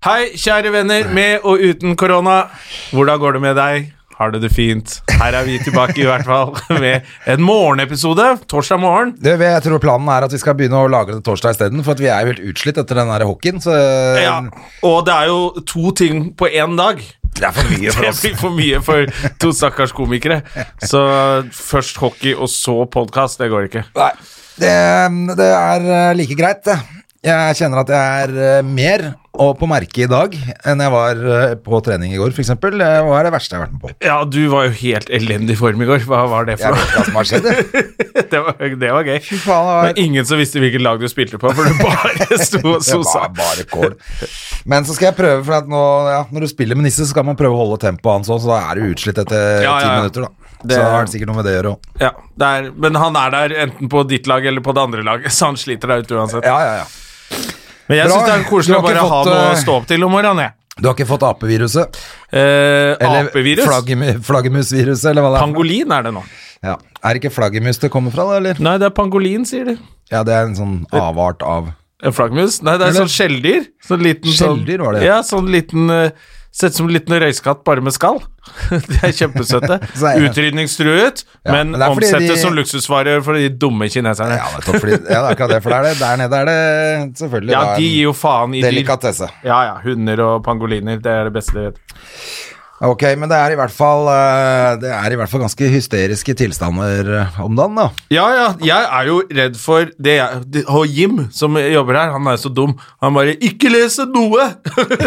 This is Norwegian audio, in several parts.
Hei, kjære venner, med og uten korona. Hvordan går det med deg? Har du det fint? Her er vi tilbake i hvert fall med en morgenepisode torsdag morgen. Du, jeg tror planen er at vi skal begynne å lagre det torsdag isteden, for at vi er jo helt utslitt etter den der hockeyen. Så eh, Ja, og det er jo to ting på én dag. det er for mye for Det oss. blir for mye for to stakkars komikere. Så først hockey og så podkast, det går ikke. Nei, det, det er eh, like greit, det. Jeg kjenner at jeg er eh, mer og på merket i dag enn jeg var eh, på trening i går, f.eks. Det var det verste jeg har vært med på. Ja, du var jo helt elendig i form i går. Hva var det Jeg for vet noe? ikke hva som har skjedd. jeg. Det var, det var gøy. Fy faen, det var- Det var ingen som visste hvilket lag du spilte på, for du bare sto og Det sosa. var bare kål. Men så skal jeg prøve, for at nå, ja, når du spiller med Nisse, så skal man prøve å holde tempoet hans òg, så da er du utslitt etter ti Ja, ja, ja. minutter, da. Det- Så har det sikkert noe med det å gjøre òg. Ja, det er, men han er der enten på ditt lag eller på det andre laget, så han sliter deg ut uansett. Ja, ja, ja. Men jeg Bra. syns det er koselig å Du har bare ikke ha fått, noe å eh, stå opp til om morgenen, jeg. Du har ikke fått apeviruset? Eh, Eller Apevirus? flaggemu- flaggermusviruset, eller hva det er. for noe? Pangolin er det nå. Ja. Er det ikke flaggermus det kommer fra, da, eller? Nei, det er pangolin, sier de. Ja, det er en sånn avart av En flaggermus? Nei, det er Eller- sånn skjelldyr. Sånn liten sånn- Skjelldyr var det, ja. Ja, sånn liten eh, Sett som en liten røyskatt, bare med skall. De er kjempesøte. Så er det- Utrydningstruet, Ja, men, men det er fordi omsettes de- som luksusvarer for de dumme kineserne. Ja, nettopp, fordi, ja det er akkurat det, for der, er det, der nede er det selvfølgelig Ja, da de gir en jo faen i dyr. delikatesse. Ja, ja. Hunder og pangoliner, det er det beste de vet. Ok, men det er i hvert fall eh, Det er i hvert fall ganske hysteriske tilstander eh, om dagen, da. Ja, ja, jeg er jo redd for det jeg det- Og Jim, som jobber her, han er jo så dum. Han bare 'Ikke lese noe!'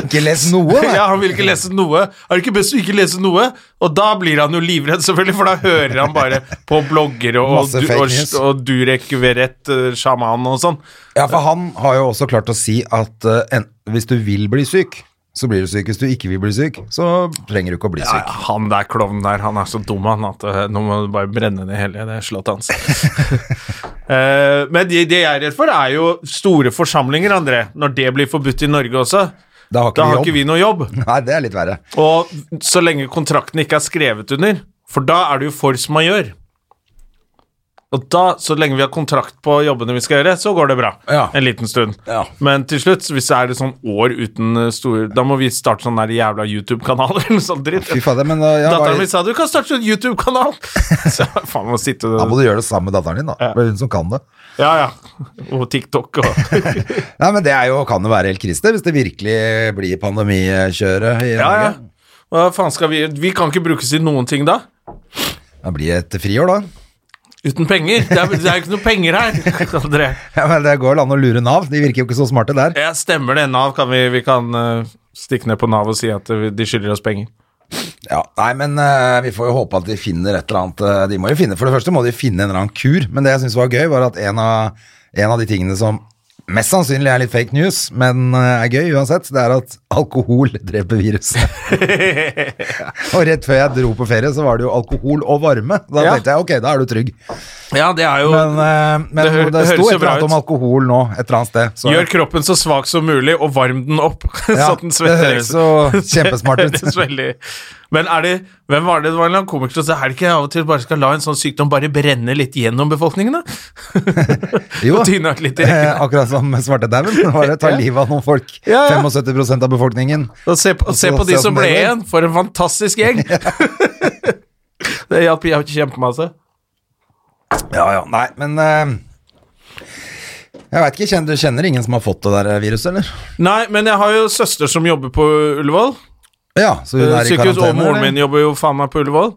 Ikke les noe, nei. ja, han vil ikke lese noe. Er det ikke best å ikke lese noe? Og da blir han jo livredd, selvfølgelig, for da hører han bare på blogger og, Masse du, fake og, news. og Durek Verrett, eh, sjaman og sånn. Ja, for han har jo også klart å si at eh, en, hvis du vil bli syk, så blir du syk. Hvis du ikke vil bli syk, så trenger du ikke å bli Ja, syk. ja, han der klovnen der, han er så dum han at eh, nå må du bare brenne ned hele det slottet hans. Eh, men det, det jeg er redd for, er jo store forsamlinger, André. Når det blir forbudt i Norge også, Da har ikke da vi har jobb. ikke vi noe jobb. Nei, det er litt verre. Og så lenge kontrakten ikke er skrevet under, for da er det jo force majeure. Og da, så lenge vi har kontrakt på jobbene vi skal gjøre, så går det bra. Ja. En liten stund. Ja. Men til slutt, hvis det er det sånn år uten eh, store Da må vi starte sånn der jævla YouTube-kanal eller noe sånt dritt. Fy fader, men da, ja, Datteren hva- min sa du kan starte en YouTube-kanal! Så jeg, faen, må sitte da må du gjøre det sammen med datteren din, da. Det er hun som kan det. Ja, ja. Og TikTok og Nei, men det er jo, kan jo være helt krise, det, hvis det virkelig blir pandemikjøret i Ja, ja. Norge. Hva faen skal vi Vi kan ikke brukes i noen ting da. Da blir det et friår, da. Uten penger. Det er, det er ikke noe penger her. André. Ja, men Det går vel an å lure Nav, de virker jo ikke så smarte der. Ja, stemmer det. Nav kan vi, vi kan eh, stikke ned på Nav og si at eh, de skylder oss penger. Ja, Nei, men eh, vi får jo håpe at de finner et eller annet eh, De må jo finne, For det første må de finne en eller annen kur, men det jeg syns var gøy, var at en av, en av de tingene som mest sannsynlig er litt fake news, men eh, er gøy uansett, det er at alkohol dreper viruset. og rett før jeg dro på ferie, så var det jo alkohol og varme. Da Ja. tenkte jeg ok, da er du trygg. Ja, det er jo Men, eh, men Det det, hø- det høres sto et jo eller bra annet ut. om alkohol nå, et eller annet sted. Så, Gjør kroppen så svak som mulig, og varm den opp. ja, så den svetter. Det høres jo kjempesmart Det høres ut. veldig- Men er det Hvem var det det var en eller annen komiker som sa er det ikke av og til bare skal la en sånn sykdom bare brenne litt gjennom befolkningen, da? Jo, Og tyne ut litt i rekken. eh, akkurat som med svartedauden. Det var det å ta livet av noen folk. Ja, ja. 75 av befolkningen. Og se på, se så på de se som åssen ble det går. igjen. For en fantastisk gjeng! det hjalp hjalp kjempemasse. Ja, ja, nei, men eh, Jeg veit ikke, kjenner, du kjenner ingen som har fått det der viruset, eller? Nei, men jeg har jo søster som jobber på Ullevål. Ja, så hun er i Eh, Sykehus karantene? og moren min eller? jobber jo faen meg på Ullevål.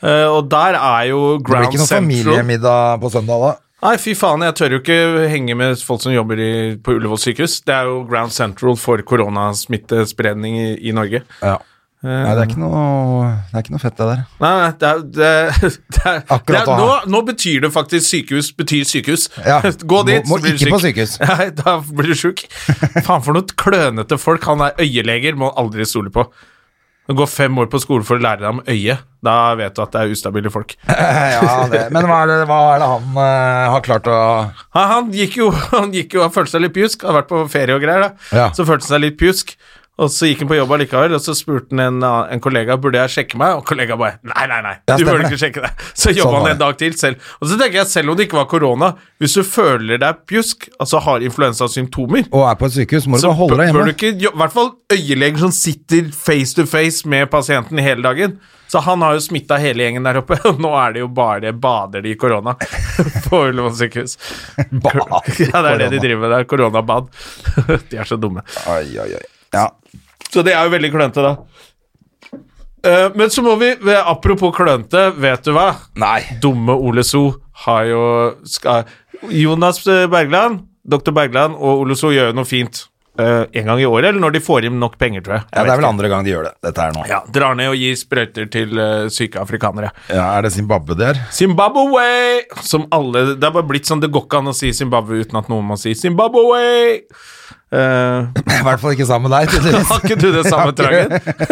Eh, og der er jo Det blir Ground ikke noen Central. familiemiddag på søndag, da? Nei, fy faen, jeg tør jo ikke henge med folk som jobber i, på Ullevål sykehus. Det er jo Ground Central for koronasmittespredning i, i Norge. Ja. Nei, det er Eh. ikke noe, det er ikke noe fett, det der. Nei, nei, det er, det, er- det er, det Akkurat er, å nå, ha. nå betyr det faktisk sykehus betyr sykehus. Ja, Gå dit, må- må så blir du ikke syk. på sykehus. Nei, da blir du sjuk. Faen for noen klønete folk. Han er øyeleger, må aldri stole på. Du går fem år på skole for å lære deg om øyet. Da vet du at det er ustabile folk. Eh, ja, det. Men hva er det, hva er det han eh, har klart å Han, han gikk jo Han gikk jo, han følte seg litt pjusk. Han har vært på ferie og greier, da. Ja. Så følte han seg litt pjusk. Og så gikk han på jobb allikevel, og så spurte han en, annen- en kollega burde jeg sjekke meg, og kollega bare nei, nei, nei, Ja, du stemmer burde det. Sånn ikke sjekke deg. Så jobba han var det. en dag til selv. Og så tenker jeg, selv om det ikke var korona, hvis du føler deg pjusk, altså har influensasymptomer, Og er på et sykehus, må du så bare holde bør deg bør du hjemme. ikke jo- I hvert fall øyeleger som sitter face to face med pasienten hele dagen. Så han har jo smitta hele gjengen der oppe, og nå er det jo bare bader de i korona på Ullevål sykehus. Bad. Ja, det er det de driver med der. Koronabad. De er så dumme. Oi, oi, oi. Ja. Så det er jo veldig klønete, da. Eh, Men så må vi eh, Apropos klønete, vet du hva? Nei. Dumme Ole So har jo skal, Jonas eh, Bergland, Dr. Bergland og Ole So gjør jo noe fint eh, en gang i året, eller når de får inn nok penger, tror jeg. Ja, jeg det er vet vel ikke. andre gang de gjør det, dette her nå. ja, Drar ned og gir sprøyter til eh, syke afrikanere. Ja, er det Zimbabwe der? Zimbabwe! Som alle Det er bare blitt sånn, det går ikke an å si Zimbabwe uten at noen må si Zimbabwe! Eh, I hvert fall ikke sammen med deg, tydeligvis. Har ikke du det samme trangen?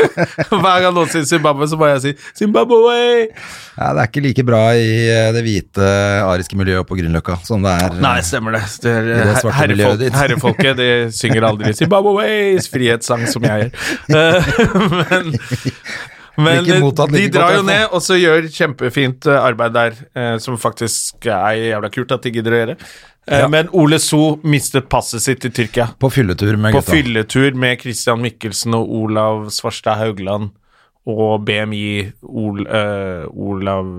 Hver gang noen sier Zimbabwe, så må jeg si Zimbabwe! Ja, det er ikke like bra i eh, det hvite ariske miljøet på Grünerløkka som det er eh, Nei, stemmer det. det, er, I det svarte her- miljøet herrefolk, ditt. herrefolket de synger aldri Zimbabwe's frihetssang, som jeg gjør. Eh, Men, men Ikke mottatt de like godt, drar i jo hvert ned, og så gjør kjempefint eh, arbeid der, eh, som faktisk er jævla kult at de gidder å gjøre. Eh, Ja. Men Ole So mistet passet sitt til Tyrkia. På fylletur med På gutta. fylletur med Christian Mikkelsen og Olav Svarstad Haugland og BMI Ol, eh, Olav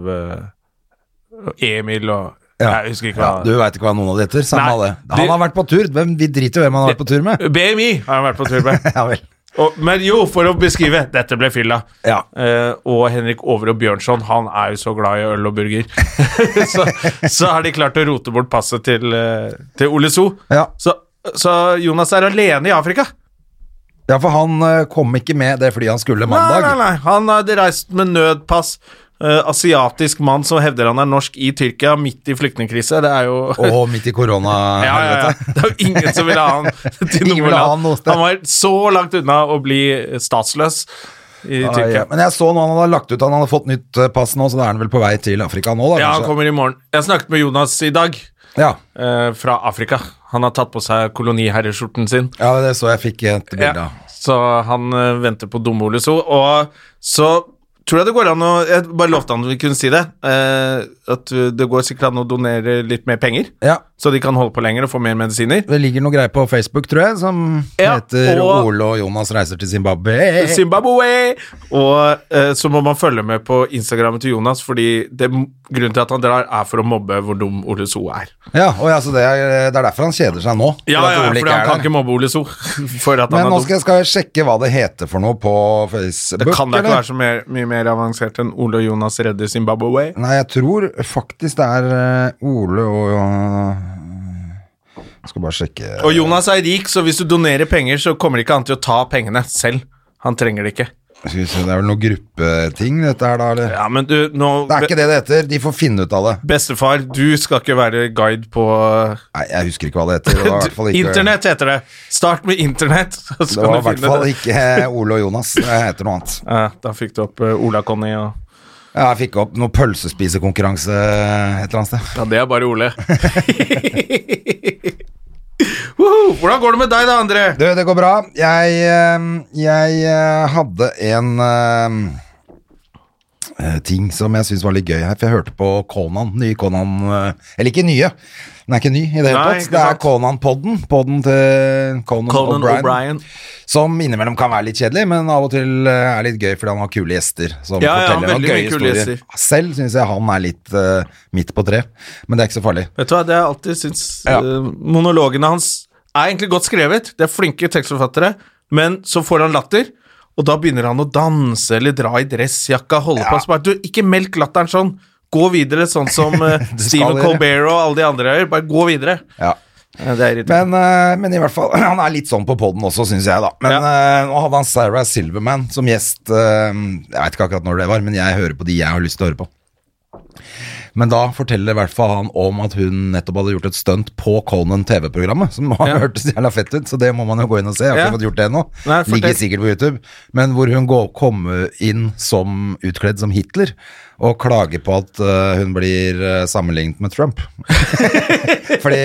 eh, Emil og Jeg husker ikke hva Ja, du veit ikke hva noen av de heter? Samme Nei, alle. Han de- har vært på tur. Hvem, vi driter jo i hvem han har vært på tur med. BMI har han vært på tur med. Ja vel. Og, men jo, for å beskrive Dette ble fylla. Ja. Eh, og Henrik Over og Bjørnson, han er jo så glad i øl og burger. så, så har de klart å rote bort passet til, eh, til Ole So. Ja. Så, så Jonas er alene i Afrika. ja, for han eh, kom ikke med det flyet han skulle mandag. Nei, nei, nei. Han hadde reist med nødpass. Eh, asiatisk mann som hevder han er norsk i Tyrkia, midt i flyktningkrise. Det er jo Og midt i korona ja, ja, ja. Det er jo ingen som ville ha han til Ingen noe ville ha han land. noe sted. Han var så langt unna å bli statsløs i Ah, ja. Tyrkia. Men jeg så nå han hadde lagt ut Han hadde fått nytt eh, pass nå, så da er han vel på vei til Afrika nå, da? Ja, han kanskje? kommer i morgen. Jeg snakket med Jonas i dag, ja. eh, fra Afrika. Han har tatt på seg koloniherreskjorten sin. ja, det så jeg fikk et bilde av. Så han eh, venter på dumme Ole So, og så tror jeg det går an å Jeg bare lovte han at vi kunne si det. eh, at eh, det går sikkert an å donere litt mer penger, Ja. så de kan holde på lenger og få mer medisiner. Det ligger noe greier på Facebook, tror jeg, som Ja, heter og- Ole og Jonas reiser til Zimbabwe. Zimbabwe! Og eh, så må man følge med på Instagrammen til Jonas, fordi det, grunnen til at han drar, er for å mobbe hvor dum Ole So er. Ja, og ja, så det, er, det er derfor han kjeder seg nå. Ja, for at ja, Ole for han ikke er kan der. ikke mobbe Ole So. For at Men han nå er dum. skal jeg, skal jeg sjekke hva det heter for noe på Facebook. Det kan da ikke eller? være så mer, mye mer avansert enn Ole og Jonas redder Zimbabwe. Nei, jeg tror faktisk det er eh, Ole og eh, Jeg skal bare sjekke Og Jonas er rik, så hvis du donerer penger, så kommer ikke han til å ta pengene selv. Han trenger det ikke. Skal vi se, Det er vel noe gruppeting, dette her, da? Eller? Ja, men du, nå Det er ikke det det heter. De får finne ut av det. Bestefar, du skal ikke være guide på Nei, jeg husker ikke hva det heter. og Det var i hvert fall ikke, Internett heter det! Start med internett, så Det skal du var i hvert finne fall det. ikke Ole og Jonas. Det heter noe annet. Ja, da fikk du opp eh, Ola-Conny og Ja, jeg fikk opp noe pølsespisekonkurranse et eller annet sted. Ja, det er bare Ole. Woho! Hvordan går det med deg da, André? Du, det går bra. Jeg, eh, jeg eh, hadde en eh, eh, ting som jeg syntes var litt gøy her, for jeg hørte på Conan, nye Conan eh, Eller ikke nye, den er ikke ny i det hele Nei, tatt. ikke Det er sant. Conan-podden, podden til Conan, Conan O'Brien. O'Brien. Som innimellom kan være litt kjedelig, men av og til eh, er litt gøy fordi han har kule gjester. Som Ja, ja, forteller noen veldig gøye mye kule historier. gjester. Selv syns jeg han er litt eh, midt på tre, men det er ikke så farlig. Vet du hva, det har jeg alltid syntes Ja. eh, Monologene hans er egentlig godt skrevet. Det er flinke tekstforfattere, men så får han latter, og da begynner han å danse eller dra i dressjakka, holde på så bare, Du, ikke melk latteren sånn! Gå videre, sånn som eh, Du skal Stephen gjøre det. Colbert og alle de andre gjør. Bare gå videre. Ja. Ja, det er irriterende. Men, eh, men i hvert fall, han er litt sånn på poden også, syns jeg, da. Men eh, nå hadde han Sarah Silverman som gjest. eh, jeg veit ikke akkurat når det var, men jeg hører på de jeg har lyst til å høre på. Men da forteller i hvert fall han om at hun nettopp hadde gjort et stunt på Conan TV-programmet, som har Ja. hørtes jævla fett ut, så det må man jo gå inn og se. Jeg har Ja. ikke fått gjort det ennå. Nei, fortell. Ligger sikkert på YouTube. Men hvor hun går, kommer inn som utkledd som Hitler og klager på at eh, hun blir eh, sammenlignet med Trump. Fordi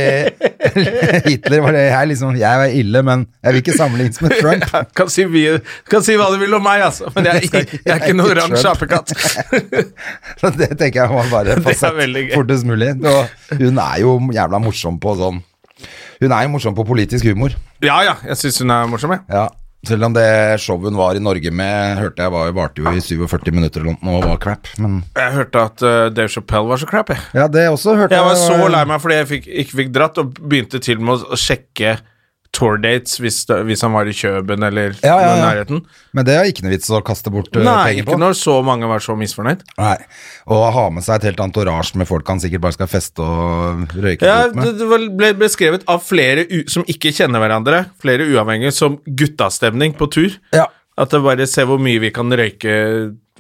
Hitler var det jeg liksom Jeg var ille, men jeg vil ikke sammenlignes med Trump. Ja, kan, si mye- kan si hva du vil om meg, altså, men jeg, jeg, er ikke noen oransje apekatt. Så det tenker jeg var bare Det er fasett veldig gøy. fortest mulig. Og hun er jo jævla morsom på sånn Hun er jo morsom på politisk humor. Ja ja, jeg syns hun er morsom, jeg. Ja. Selv om det showet hun var i Norge med, hørte jeg var jo varte jo i 47 minutter eller noe og var crap. Men Jeg hørte at eh, Dave Chappelle var så crap, jeg. ja, det også hørte Jeg var så lei meg fordi jeg fikk, ikke fikk dratt, og begynte til og med å sjekke tourdates hvis, det- hvis han var i Kjøben eller Ja, ja, den ja. nærheten. Men det er ikke noe vits å kaste bort uh, Nei, penger ikke på. når så mange var så misfornøyd. Nei. Og ha med seg et helt entourage med folk han sikkert bare skal feste og røyke Ja, litt med. det, det var- ble beskrevet av flere u som ikke kjenner hverandre, flere uavhengige, som guttastemning på tur. Ja. At det bare se hvor mye vi kan røyke,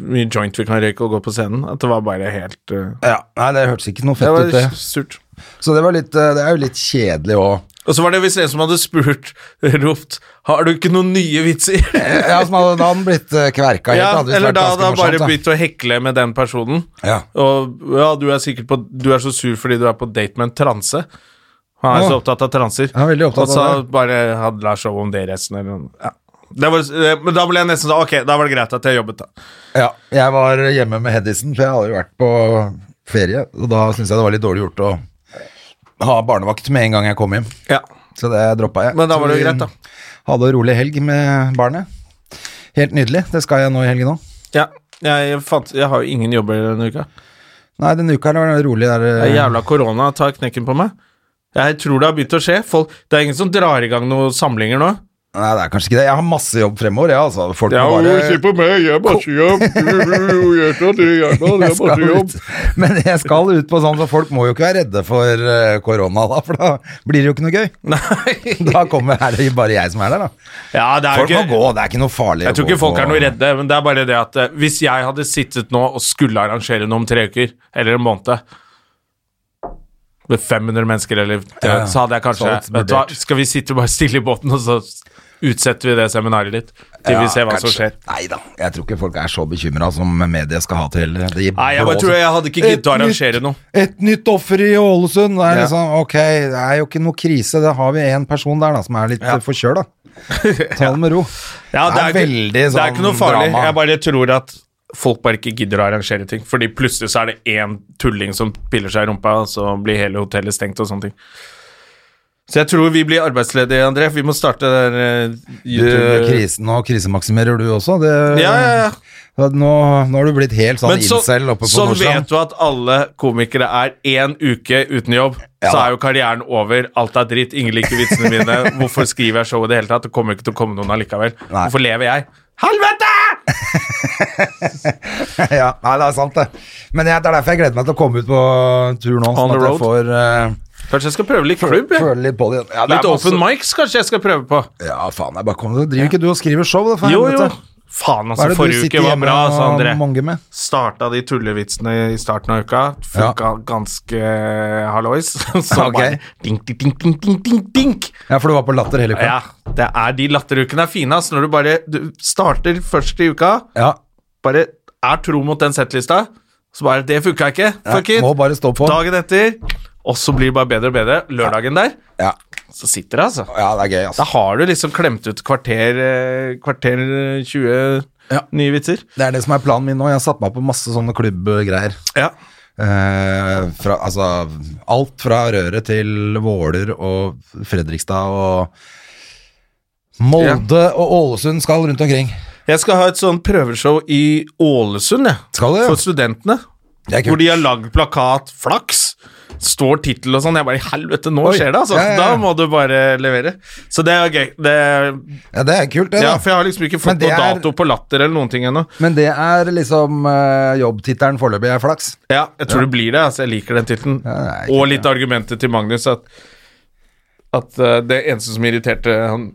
hvor mye joint vi kan røyke og gå på scenen. At det var bare helt uh, Ja, Nei, det hørtes ikke noe Det fett var ut, det. surt. Så det, var litt, eh, det er jo litt kjedelig òg. Og så var det visst en som hadde spurt, ropt, har du ikke noen nye vitser? Ja, som hadde, da hadde han blitt eh, kverka helt. Ja, hadde det eller vært da ganske hadde han bare morsomt, da. begynt å hekle med den personen. Ja. Og ja, du er sikkert på Du er så sur fordi du er på date med en transe. Han er Å. så opptatt av transer. Han er veldig opptatt og så av det. bare hadde la show om det resten eller noe. Ja. Det var, eh, men da ble jeg nesten sånn Ok, da var det greit at jeg jobbet, da. Ja, jeg var hjemme med Hedisen, for jeg hadde jo vært på ferie, og da syntes jeg det var litt dårlig gjort å ha barnevakt med en gang jeg kom hjem. Ja. Så det droppa jeg. Men da var det Så jo vi greit, da. Hadde en rolig helg med barnet. Helt nydelig. Det skal jeg nå i helgen òg. ja. Jeg, fant, jeg har jo ingen jobber denne uka. Nei, denne uka her var det rolig. Der, eh, Det er jævla korona tar knekken på meg. Jeg tror det har begynt å skje. Folk, det er ingen som drar i gang noen samlinger nå. Nei, det er kanskje ikke det. Jeg har masse jobb fremover, jeg, altså. Folk Ja, må bare se på meg, jeg er masse jobb. jeg skal ut. Men jeg skal ut på sånn, så folk må jo ikke være redde for eh, korona, da, for da blir det jo ikke noe gøy. Nei. Da kommer, er det jo bare jeg som er der, da. Ja, det er jo Folk må ikke gå, det er ikke noe farlig. Jeg å tror ikke gå folk på- er noe redde, men det er bare det at eh, hvis jeg hadde sittet nå og skulle arrangere noe om tre uker, eller en måned med 500 mennesker, eller Ja, ja. så hadde jeg kanskje Så hadde det vet du hva, vurdert. Skal vi sitte bare stille i båten, og så utsetter vi det seminaret litt til vi ser hva som skjer? Nei da, jeg tror ikke folk er så bekymra som mediet skal ha til heller. De Nei, jeg bare blåser- tror jeg hadde ikke giddet å Et arrangere nytt- noe. Et nytt offer i Ålesund. Det er Ja. liksom, ok, det er jo ikke noe krise. Da har vi en person der da, som er litt ja. forkjøla. Ta det med ro. Ja, det, er ikke, veldig det sånn er ikke noe farlig. drama. Jeg bare tror at folk bare ikke gidder å arrangere ting. Fordi plutselig så er det én tulling som piller seg i rumpa, og så blir hele hotellet stengt og sånne ting. Så jeg tror vi blir arbeidsledige, André. Vi må starte der eh, Du, YouTube... krisen, nå krisemaksimerer du også. Det, Ja, ja, ja. Nå, nå har du blitt helt sånn Men så, incel oppe på så Nordstrand. vet du at alle komikere er én uke uten jobb. så da. er jo karrieren over, alt er dritt, ingen liker vitsene mine. Hvorfor skriver jeg show i det hele tatt? Det kommer jo ikke til å komme noen allikevel. Nei. Hvorfor lever jeg? Helvete! ja, nei, det er sant, det. Men jeg, det er derfor jeg gleder meg til å komme ut på tur nå. On Sånn the at jeg road. får eh, Kanskje jeg skal prøve litt klubb? jeg. føle litt på det. Ja, det Litt er masse- open mics kanskje jeg skal prøve på. Ja, faen, jeg bare kom Driver ikke du og skriver show, da? for Jo, jo. helvete? Faen, Hva altså. er det du Forrige uke sitter var hjemme bra, sa og André. mange med? Starta de tullevitsene i starten av uka. Funka ganske eh, hallois. Så Ok. bare dink, dink, dink, dink, dink, dink, dink. Ja, for du var på Latter hele uka? Ja, det er de latterukene er fine, ass. Når du bare du starter først i uka, Ja. bare er tro mot den settlista, så bare Det funka ikke. Fuck Nei, it. må bare stå på. Dagen etter. Og så blir det bare bedre og bedre. Lørdagen der, Ja. så sitter det, altså. ja, det er gøy, Da altså. har du liksom klemt ut kvarter, eh, kvarter eh, 20 Ja. nye vitser. Det er det som er planen min nå. Jeg har satt meg på masse sånne klubbgreier. Ja. Eh, fra, altså, alt fra Røret til Våler og Fredrikstad og Molde og Ålesund skal rundt omkring. Jeg skal ha et sånn prøveshow i Ålesund, jeg. Skal du, ja? For studentene. Det er kult. Hvor de har lagd plakat 'Flaks'. Står tittel og sånn. Jeg bare Helvete, nå Oi. skjer det, altså. Ja, ja, ja. Da må du bare levere. Så det er gøy. Det er, Ja, det er kult, det, da. ja, for jeg har liksom ikke Men fått det noe er- dato på latter eller noen ting ennå. Men det er liksom eh, jobbtittelen foreløpig er flaks. Ja, jeg tror det blir det. Altså, jeg liker den tittelen. Ja, det er og litt argumentet til Magnus at at eh, det eneste som irriterte han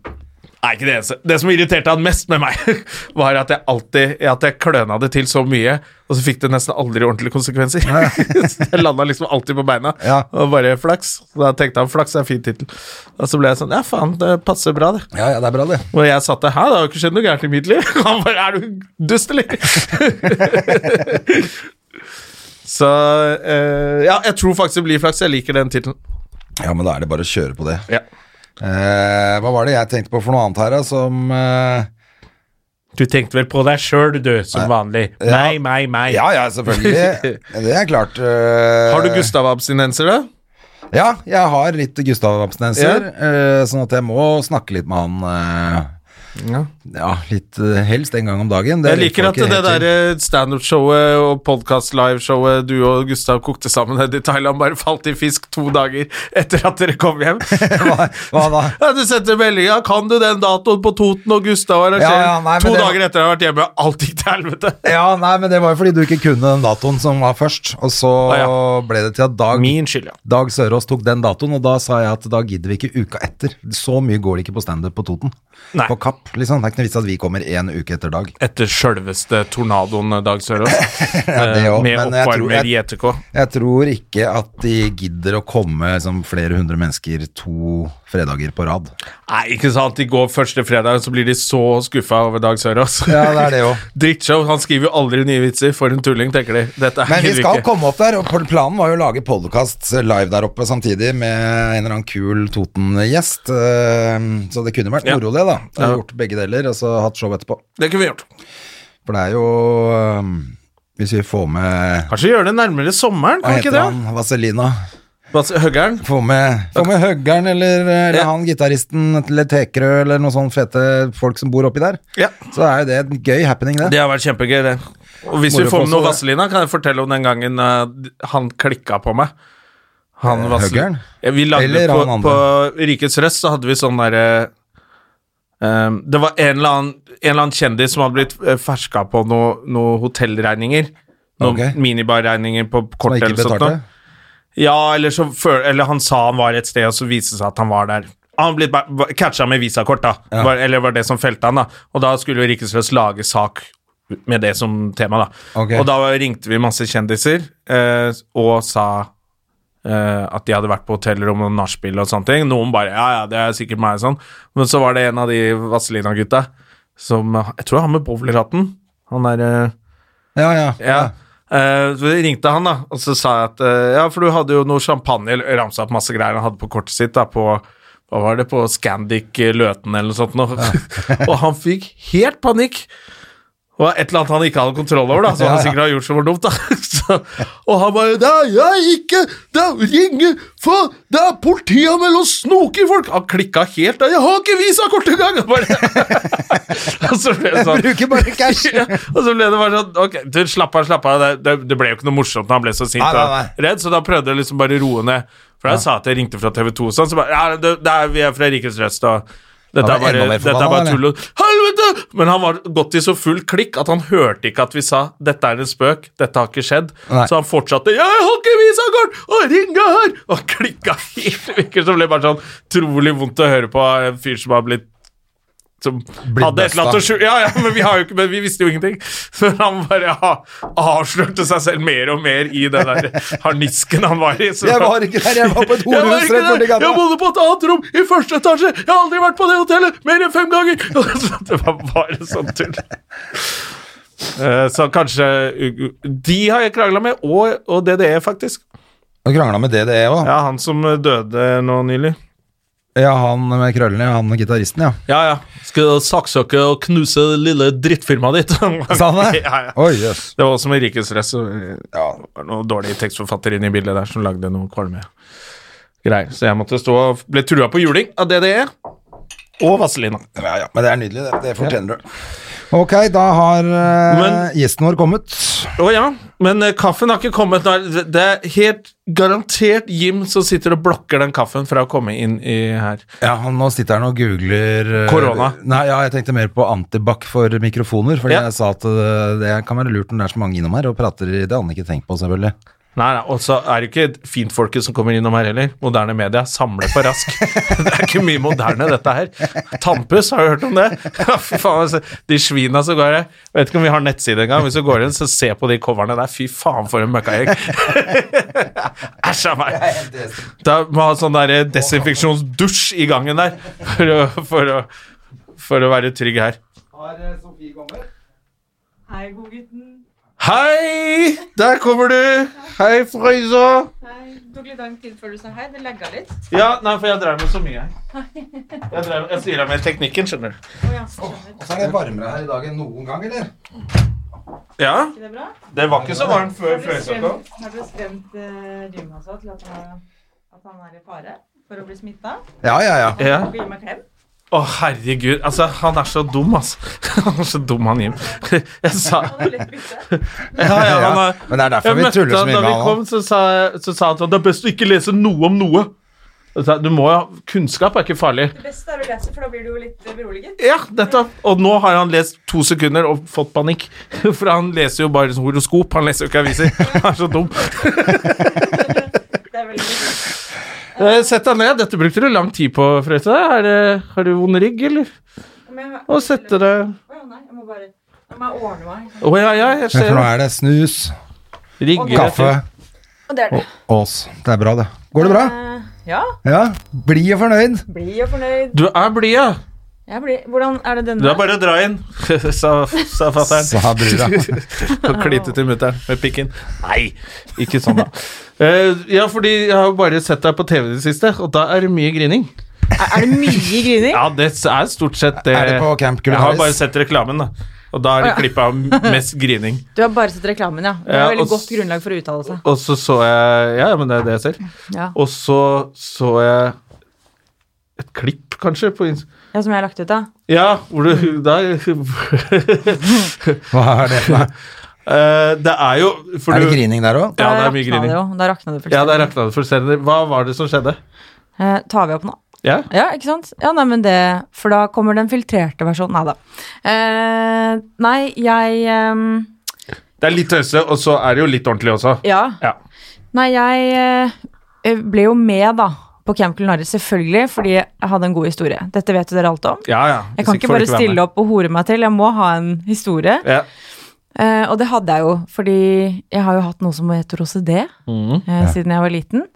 Nei, ikke det eneste. Det som irriterte han mest med meg, var at jeg alltid at jeg kløna det til så mye, og så fikk det nesten aldri ordentlige konsekvenser. så jeg landa liksom alltid på beina, Ja. og bare flaks. Og Da tenkte han flaks er en fin tittel. Og så ble jeg sånn ja, faen, det passer bra, det. Ja, ja, det er bra, det. Og jeg satt der hæ, det har jo ikke skjedd noe gærent i mitt liv. Han bare er du dust, eller? så eh, ja, jeg tror faktisk det blir flaks. Jeg liker den tittelen. Ja, men da er det bare å kjøre på det. Ja. Eh, hva var det jeg tenkte på for noe annet her, da, som eh, Du tenkte vel på deg sjøl, du, som vanlig. Nei, meg, meg. Ja, ja, selvfølgelig. Det er klart. eh, Har du Gustav-abstinenser, da? Ja, jeg har litt Gustav-abstinenser, Ja. eh, sånn at jeg må snakke litt med han eh, Ja. ja, litt eh, helst en gang om dagen. Det Jeg liker får at ikke det helt til. der eh, standup-showet og podkast-liveshowet du og Gustav kokte sammen nede i Thailand, bare falt i fisk to dager etter at dere kom hjem. Hva, hva da? Ja, Du sendte meldinga 'Kan du den datoen på Toten og Gustav arrangerer?' Ja, ja, nei, men to det- dager etter at jeg har vært hjemme, og alt gikk til helvete. Ja, nei, men det var jo fordi du ikke kunne den datoen som var først, og så Ah, ble det til at Dag, Min skyld, ja. Dag Sørås tok den datoen, og da sa jeg at da gidder vi ikke uka etter. Så mye går det ikke på standup på Toten. Nei. På Kapp, liksom. Det er ikke noe vits at vi kommer én uke etter Dag. Etter sjølveste tornadoen, eh, Dag Sørås. det Eh, også, med men jeg tror oppvarmer i jeg- ETK. Jeg tror ikke at de gidder å komme liksom, flere hundre mennesker to fredager på rad. Nei, ikke sant. De går første fredag, så blir de så skuffa over Dag Sørås. Ja, det er det òg. Drittshow. Han skriver jo aldri nye vitser. For en tulling, tenker de. Dette er Men vi ikke skal virke. komme opp der, og planen var jo å lage podkast live der oppe samtidig med en eller annen kul Toten-gjest. eh, Så det kunne vært Ja. moro, det, da. Jeg har Ja. gjort begge deler, og så hatt show etterpå. Det kunne vi gjort. For det er jo eh, Hvis vi får med Kanskje gjøre det nærmere sommeren? Hva Kan vi ikke heter det? han? Vazelina? Basse- Høggern? Få med, få med Høggern eller, eh, eller Ja. han gitaristen eller Tekerø eller noen sånne fete folk som bor oppi der. Ja. Så er jo det en gøy happening, det. Det har vært kjempegøy, det. Og hvis Moro vi får for med noe oss også, Vazelina, kan jeg fortelle om den gangen eh, han klikka på meg. Han Eh, Vazel- Høggern? Ja, vi lagde Eller på, han andre? på Rikets Røst, så hadde vi sånn derre eh, Det var en eller, annen, en eller annen kjendis som hadde blitt eh, ferska på noen noe hotellregninger. Noen Ok. minibarregninger på Som kort ikke eller sånt. betalte. noe. Ja, eller, så, før, eller han sa han var et sted, og så viste det seg at han var der. Han ble ba- ba- catcha med visakort, da. Var, eller var det som felte han, da. Og da skulle jo Rikesløs lage sak med det som tema, da. Ok. Og da ringte vi masse kjendiser eh, og sa eh, at de hadde vært på hotellrom og nachspiel og sånne ting. Noen bare Ja, ja, det er sikkert meg, sånn. Men så var det en av de Vazelina-gutta som Jeg tror han med bowlerhatten. Han er eh, Ja, ja. ja. Eh, så ringte han, da, og så sa jeg at eh, Ja, for du hadde jo noe champagne eller ramsa opp masse greier han hadde på kortet sitt, da, på Hva var det, på Scandic eh, Løten eller noe sånt noe. og han fikk helt panikk! Det var et eller annet han ikke hadde kontroll over, da, så han sikkert har gjort som var dumt. da. Så, og han bare 'Det er jeg ikke! Det er ringe for Det er politianmeldelse og snoker folk!' Han klikka helt der. 'Jeg har ikke visakort engang!' Og bare- Og så ble det sånn Bruker bare cash. ja, og så ble det bare sånn Ok, du, slapp av, slapp av. Det, det, det ble jo ikke noe morsomt når han ble så sint Nei, nei, og redd, så da prøvde jeg liksom bare å roe ned. For jeg sa at jeg ringte fra TV2 og sånn, så bare Ja, det, det er, vi er fra Rikets Røst, og dette er Han var bare, enda mer dette er forbanna, bare tull og Helvete! Men han var gått i så full klikk at han hørte ikke at vi sa 'dette er en spøk', 'dette har ikke skjedd'. Nei. Så han fortsatte 'jeg har ikke visakort', og ringa her! Og klikka helt vikker, så ble det bare sånn utrolig vondt å høre på av en fyr som har blitt som hadde et eller annet å besta. skjule ja, ja, men vi, har jo ikke, men vi visste jo ingenting. Så han bare ja, avslørte seg selv mer og mer i den der harnisken han var i. Så Jeg var ikke der, jeg var på et Jeg var horehus ikke rett borti der! Jeg gata. bodde på et annet rom i første etasje! Jeg har aldri vært på det hotellet mer enn fem ganger! Så det var bare sånn tull. Eh, Så kanskje De har jeg krangla med, og, og DDE, faktisk. Du krangla med E DDE òg? Ja. Ja, han som døde nå nylig. han med krøllene, han gitaristen, ja. Ja, ja. Skal saksøke og knuse det lille drittfirmaet ditt. Sa han det? Ja, ja. Oi, jøss. Det var også med rikesress og Ja. det var noe dårlig tekstforfatter inne i bildet der som lagde noe kvalme. Greier. Så jeg måtte stå og ble trua på juling av DDE og Vazelina. Ja, ja, men det er nydelig, det. Det fortjener du. Ok, da har eh, Men- gjesten vår kommet. Å ja, men eh, kaffen har ikke kommet. Nå. Det er helt garantert Jim som sitter og blokker den kaffen fra å komme inn i her. Ja, han Nå sitter han og googler eh, Korona. Nei, ja, jeg tenkte mer på antibac for mikrofoner. Fordi Ja. jeg sa at eh, det kan være lurt når det er så mange innom her og prater i Det hadde han ikke tenkt på, selvfølgelig. Nei, nei, og så er det ikke fintfolket som kommer innom her heller. Moderne media samler på rask. Det er ikke mye moderne, dette her. Tampus, har du hørt om det? Fy faen, altså, de svina som går her. Vet ikke om vi har nettside engang. Hvis du går inn, så se på de coverne der. Fy faen, for en møkkagjeng. Æsj a meg. Da må ha sånn der desinfeksjonsdusj i gangen der for å, for å, for å være trygg her. Hei, der kommer du. Hei, Frøysa. Det tok litt lang tid før du sa hei. Det lagga litt. Ja, nei, for jeg drev med så mye her. Jeg, drev, jeg styra med teknikken, skjønner du. Og så er det varmere her i dag enn noen gang, eller? Ja, Ikke det bra? det var ikke så varmt før Frøysa kom. Har du skremt uh, Rymasa til at han, at han er i fare for å bli smitta? Ja, ja, ja. Ja. Gi meg klem. Å, herregud. Altså, han er så dum, altså. Han er så dum, han Jim. Jeg sa Han er litt bytte. Ja, ja, han er Men det er derfor Jeg vi møtte tuller så han mye da med vi han. kom, så sa, så sa han sånn Det er best å ikke lese noe om noe. Jeg sa, Du må jo ha Kunnskap er ikke farlig. Det beste er å lese, for da blir du jo litt eh, beroliget. Ja, nettopp. Og nå har han lest to sekunder og fått panikk. For han leser jo bare sånn horoskop, han leser jo ikke aviser. Han er så dum. Det er veldig viktig. Eh, Sett deg ned. Dette brukte du lang tid på, Frøyte. Er det- Har du vond rygg, eller? Men jeg har- Å sette deg Å ja, nei, jeg må bare jeg må ordne meg. Å ja, ja, jeg Men ser for nå det. er det snus, Rigger kaffe Og det er det. og Ås. Det er bra, det. Går det bra? Ja, Ja. Blid og fornøyd. bli jo fornøyd. Du er blid, ja. Jeg blir, hvordan er det denne? Du er bare å dra inn, sa, sa fatter'n. Sa brura. Og klite til mutter'n med pikken. Nei, ikke sånn, da. Eh, ja, fordi jeg har jo bare sett deg på TV i det siste, og da er det mye grining. er, er det mye grining? Ja, det er stort sett det. Er det på Camp Jeg har bare Culinaris? sett reklamen, da. Og da er det klippet av mest grining. Du har bare sett reklamen, ja. Det er Ja, veldig og s- godt grunnlag for å uttale seg. Og så så jeg Ja, ja, men det er det jeg ser. Ja. Og så så jeg et klipp, kanskje, på Inst- ja, som jeg har lagt ut, da. Ja, hvor Mm. du der, Hva er det? for noe? Eh, Det er jo for Er det du- grining der òg? Ja, det Da er mye rakna grining. jo. Da rakna det Ja, der fullstendig. rakna det fullstendig. Hva var det som skjedde? Eh, tar vi opp nå? Ja? Ja, ikke sant? Ja, nei, men det For da kommer den filtrerte versjonen. Nei da. Eh, nei, jeg ehm, Det er litt tøyse, og så er det jo litt ordentlig også. Ja. Ja. Nei, jeg eh, ble jo med, da, på Camp Culinaris, selvfølgelig, fordi jeg hadde en god historie. Dette vet jo dere alt om. Ja, ja. Jeg kan ikke bare stille opp og hore meg til, jeg må ha en historie. Ja. Eh, og det hadde jeg jo, fordi jeg har jo hatt noe som heter OCD. Mhm. eh, siden jeg var liten.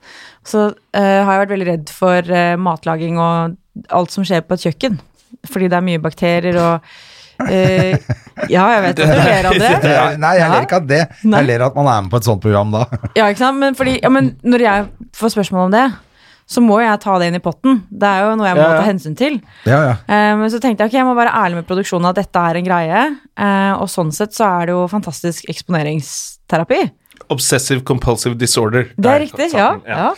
Så eh, har jeg vært veldig redd for eh, matlaging og alt som skjer på et kjøkken. Fordi det er mye bakterier og eh, Ja, jeg vet at du ler av det. Nei, jeg ler ikke av det. Nei. Jeg ler at man er med på et sånt program da. Ja, ikke sant? Men, fordi, ja, men når jeg får spørsmål om det, så må jeg ta det inn i potten. Det er jo noe jeg må Ja, ja. ta hensyn til. Ja, ja. Eh, Men så tenkte jeg ok, jeg må være ærlig med produksjonen at dette er en greie. eh, Og sånn sett så er det jo fantastisk eksponeringsterapi. Obsessive compulsive disorder. Det Der er riktig, satt ja. den. ja.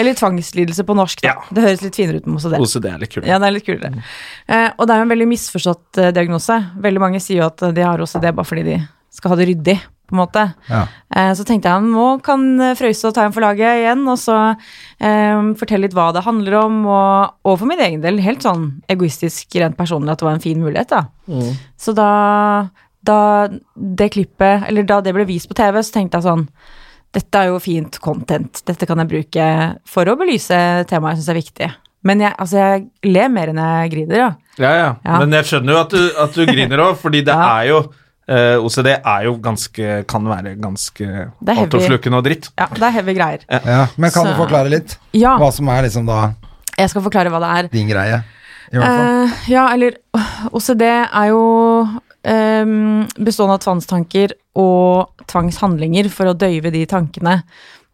Eller tvangslidelse på norsk, da. Ja. Det høres litt finere ut med OCD. OCD er litt kult. Ja, det er litt kulere. Eh, og det er jo en veldig misforstått eh, diagnose. Veldig mange sier jo at eh, de har OCD bare fordi de skal ha det ryddig, på en måte. Ja. Eh, så tenkte jeg nå kan eh, Frøyse ta en for laget igjen, og så eh, fortelle litt hva det handler om, og, og for min egen del helt sånn egoistisk, rent personlig, at det var en fin mulighet, da. Mm. Så da, da det klippet, eller da det ble vist på TV, så tenkte jeg sånn dette er jo fint content, dette kan jeg bruke for å belyse temaet jeg syns er viktig. Men jeg, altså jeg ler mer enn jeg griner, ja. Ja, ja. Ja. Men jeg skjønner jo at du, at du griner òg, fordi det Ja. er jo eh, OCD er jo ganske Kan være ganske er heavy. altoppslukende og dritt. ja. Det er heavy greier. ja. Men kan du Så- forklare litt? Ja, Hva som er liksom da jeg skal forklare hva det er. din greie? I hvert fall. Eh, ja, eller øh, OCD er jo ehm, bestående av tvangstanker og tvangshandlinger for å døyve de tankene.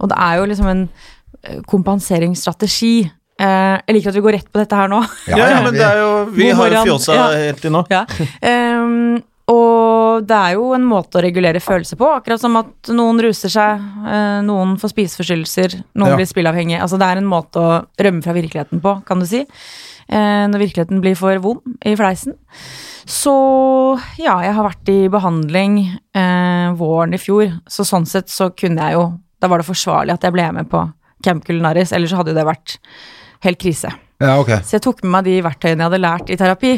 Og det er jo liksom en eh, kompenseringsstrategi. Eh, jeg liker at vi går rett på dette her nå. Ja, ja, men det er jo Vi God har jo morgen. fjosa Ja. helt til nå. Ja. Ehm, og det er jo en måte å regulere følelser på, akkurat som at noen ruser seg, eh, noen får spiseforstyrrelser, noen Ja. blir spillavhengige. Altså det er en måte å rømme fra virkeligheten på, kan du si. Eh, når virkeligheten blir for vond i fleisen. Så ja, jeg har vært i behandling eh, våren i fjor, så sånn sett så kunne jeg jo Da var det forsvarlig at jeg ble med på Camp Culinaris, ellers hadde jo det vært helt krise. Ja, ok. Så jeg tok med meg de verktøyene jeg hadde lært i terapi,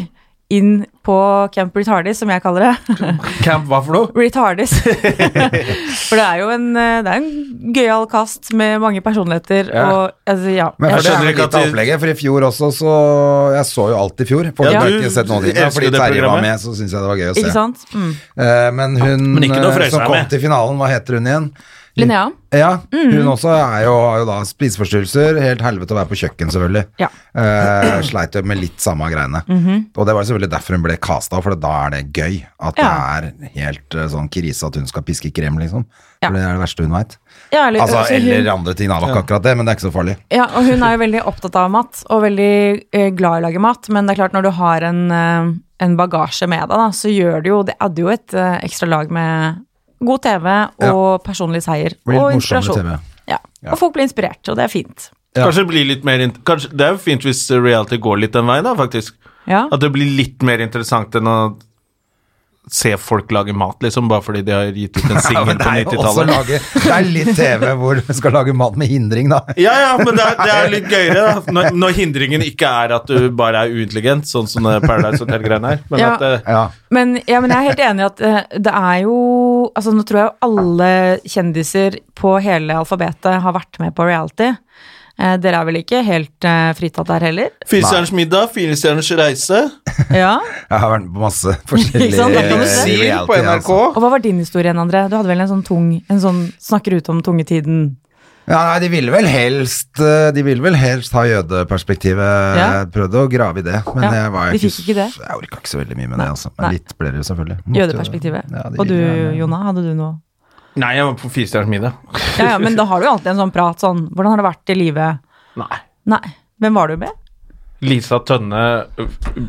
inn på Camp Retardis, som jeg kaller det. Camp, hva for noe? Retardis. For det er jo en, eh, det er en gøyal kast med mange personligheter Ja. og altså, ja. Men Jeg- først skjønner er det ikke at litt av de- opplegget, for i fjor også, så Jeg så jo alt i fjor. For Ja, jeg har du ikke sett noen av de, men elsker fordi det Terje var programmet. med, så syns jeg det var gøy å se. Ikke sant? Mm. Eh, men hun Men ikke noe eh, Frøysa som er kom med. til finalen, hva heter hun igjen? Linnea? Ja, Mhm. hun også er jo, har jo da spiseforstyrrelser. Helt helvete å være på kjøkken, selvfølgelig. Ja. Mhm. Eh, sleit jo med litt samme greiene. Og det var selvfølgelig derfor hun ble casta, for da er det gøy. At Ja. det er helt eh, sånn krise at hun skal piske krem, liksom. Ja. For det er det verste hun veit. Ja, eller, Altså, altså, hun- eller andre ting, da. Det var ikke akkurat det, men det er ikke så farlig. Ja, og hun er jo veldig opptatt av mat, og veldig eh, glad i å lage mat. Men det er klart, når du har en, eh, en bagasje med deg, da, så gjør det jo Det adder jo et eh, ekstra lag med god TV og personlig seier. Blir litt og morsommere inspirasjon. TV. Ja. Og folk blir inspirert, og det er fint. Ja. Kanskje det blir litt mer int- kanskje, Det er jo fint hvis eh, reality går litt den veien, da, faktisk. Ja. At det blir litt mer interessant enn å se folk lage mat, liksom, bare fordi de har gitt ut en Ja, singel men det, på er jo også 90-tallet. lage, det er litt TV hvor du skal lage mat med hindring, da. Ja, ja, men det er, det er litt gøyere, da. Når, når hindringen ikke er at du bare er uintelligent, sånn som det Paradise Hotel-greiene er. Men Ja. at eh, Ja. Men, ja, men jeg er helt enig i at eh, det er jo Altså, nå tror jeg jo alle kjendiser på hele alfabetet har vært med på reality. Eh, dere er vel ikke helt eh, fritatt der heller? Firestjerners middag, Firestjerners reise. Ja. Jeg har vært på masse forskjellige Ikke sant? Det er ikke noe reality, Sil på NRK. altså. Og hva var din historie igjen, André? Du hadde vel en sånn tung En sånn snakker ut om tungetiden? Ja, nei, de ville vel helst eh, De ville vel helst ha jødeperspektivet. Ja. Jeg Prøvde å grave i det, men Ja, jeg var de ikke, fikk ikke det. s- Jeg orka ikke så veldig mye med det, altså. nei. Men litt ble det jo selvfølgelig. Måtte jo det. Jødeperspektivet. Ja, de og du, ville gjerne- Jonna, hadde du noe? Nei, jeg var på Firestjerners middag. Ja, ja, men da har du jo alltid en sånn prat sånn Hvordan har det vært i livet? Nei. Nei. Hvem var du med? Lisa Tønne,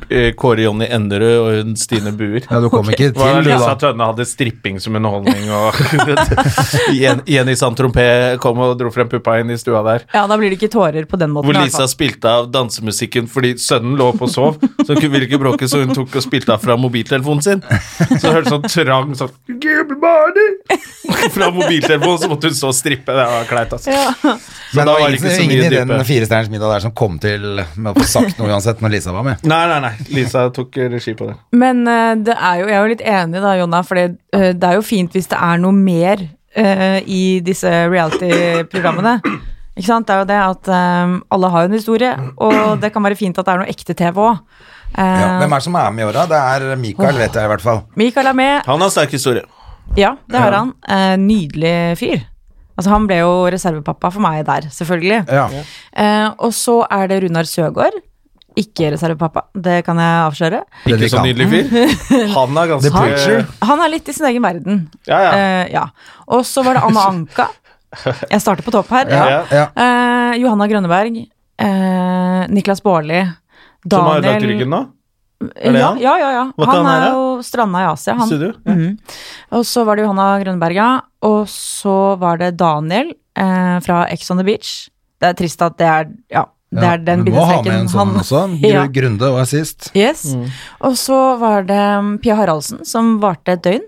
eh, Kåre Jonny Enderud og hun Stine Buer. Ja, du kom ikke Hva er til, det du, Lisa da. Tønne hadde stripping som underholdning, og Jen- Jenny Santrompé kom og dro frem puppa inn i stua der. Ja, da blir det ikke tårer på den måten. Hvor i hvert Lisa spilte av dansemusikken fordi sønnen lå oppe og sov, så hun kunne- ville ikke bråke, så hun tok og spilte av fra mobiltelefonen sin. Så hørte sånn trang sånn «Give me money!» Fra mobiltelefonen, så måtte hun stå og strippe. Det var kleit, altså. fall. Så Men da det var var det ikke ingen, så ingen mye i den dype. firestjerners middag der som kom til med å få sagt noe uansett, når Lisa var med. Nei, nei, nei. Lisa tok eh, regi på det. Men eh, det er jo, jeg er jo litt enig da, Jonna, for det, det er jo fint hvis det er noe mer eh, i disse reality-programmene. Ikke sant? Det er jo det at eh, alle har jo en historie, og det kan være fint at det er noe ekte TV òg. Ja. Hvem er det som er med i åra? Det er Mikael, vet jeg i hvert fall. Eh, Mikael er med. Han har sterk historie. Ja, det har han. Eh, nydelig fyr. Altså, han ble jo reservepappa for meg der, selvfølgelig. Ja. Eh, og så er det Runar Søgaard. Ikke reservepappa, det kan jeg avsløre. Ikke så Predikanten. nydelig fyr. Han er ganske The Preacher. Han er litt i sin egen verden. Ja, ja. Eh, ja. Og så var det Anna Anka. Jeg starter på topp her. Ja, ja. Eh, Johanna Grønneberg. Eh, Niklas Baarli. Som har ødelagt ryggen nå? det Ja, han? ja, ja. ja. Hva Han kan han er være? jo stranda i Asia, han. Studio? Ja. Mhm. Og så var det Johanna Grønneberga, og så var det Daniel eh, fra Ex on the Beach. Det er trist at det er Ja, det er den Du må ha med bindestreken en sånn han- også. Ja. Gru- Grunde og assist. Yes. Mm. Og så var det um, Pia Haraldsen, som varte et døgn.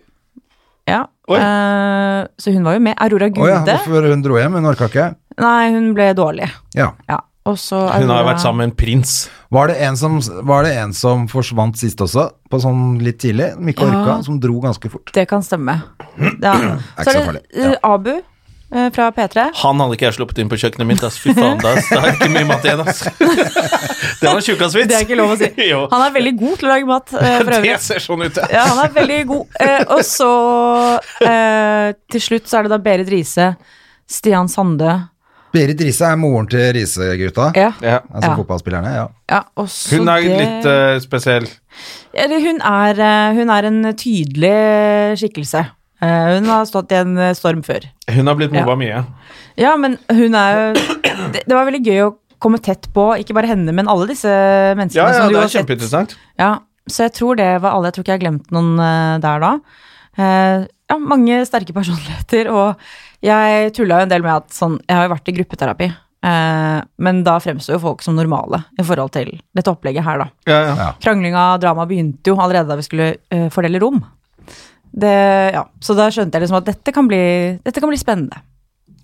Ja. Oi. Eh, så hun var jo med. Å Aurora ja, Gude. hvorfor hun dro hjem? Hun orka ikke. Nei, hun ble dårlig. Ja. Ja. Og så Hun har jo Aurora- vært sammen med en prins. Var det, en som, var det en som forsvant sist også, på sånn litt tidlig? som ikke Ja. orka, som dro ganske fort. Det kan stemme. Ja. ikke Så så er farlig. det eh, Abu eh, fra P3. Han hadde ikke jeg sluppet inn på kjøkkenet mitt, ass. Fy faen, da ass. Det er ikke mye mat igjen, ass. Det var en tjukkasvits. Det er ikke lov å si. Jo. Han er veldig god til å lage mat. eh, for øvrig. Det ser sånn ut, ja. Ja, han er veldig god. Eh, og så eh, til slutt så er det da Berit Riise, Stian Sandø Berit Riise er moren til Riise-gutta. Ja. Ja. Altså Ja. fotballspillerne, ja. ja og så Hun er det- litt eh, spesiell. Eller hun er, eh, hun er en tydelig skikkelse. Eh, Hun har stått i en eh, storm før. Hun har blitt Ja. mobba mye. Ja, men hun er jo Det, det var veldig gøy å komme tett på, ikke bare henne, men alle disse menneskene Ja, ja, som du det har er sett. kjempeinteressant. Ja, så jeg tror det var alle. Jeg tror ikke jeg har glemt noen eh, der da. Eh, ja, mange sterke personligheter, og jeg tulla jo en del med at sånn Jeg har jo vært i gruppeterapi, eh, men da fremstår jo folk som normale i forhold til dette opplegget her, da. Ja, ja. Kranglinga og dramaet begynte jo allerede da vi skulle eh, fordele rom. Det, ja, så da skjønte jeg liksom at dette kan bli, dette kan bli spennende.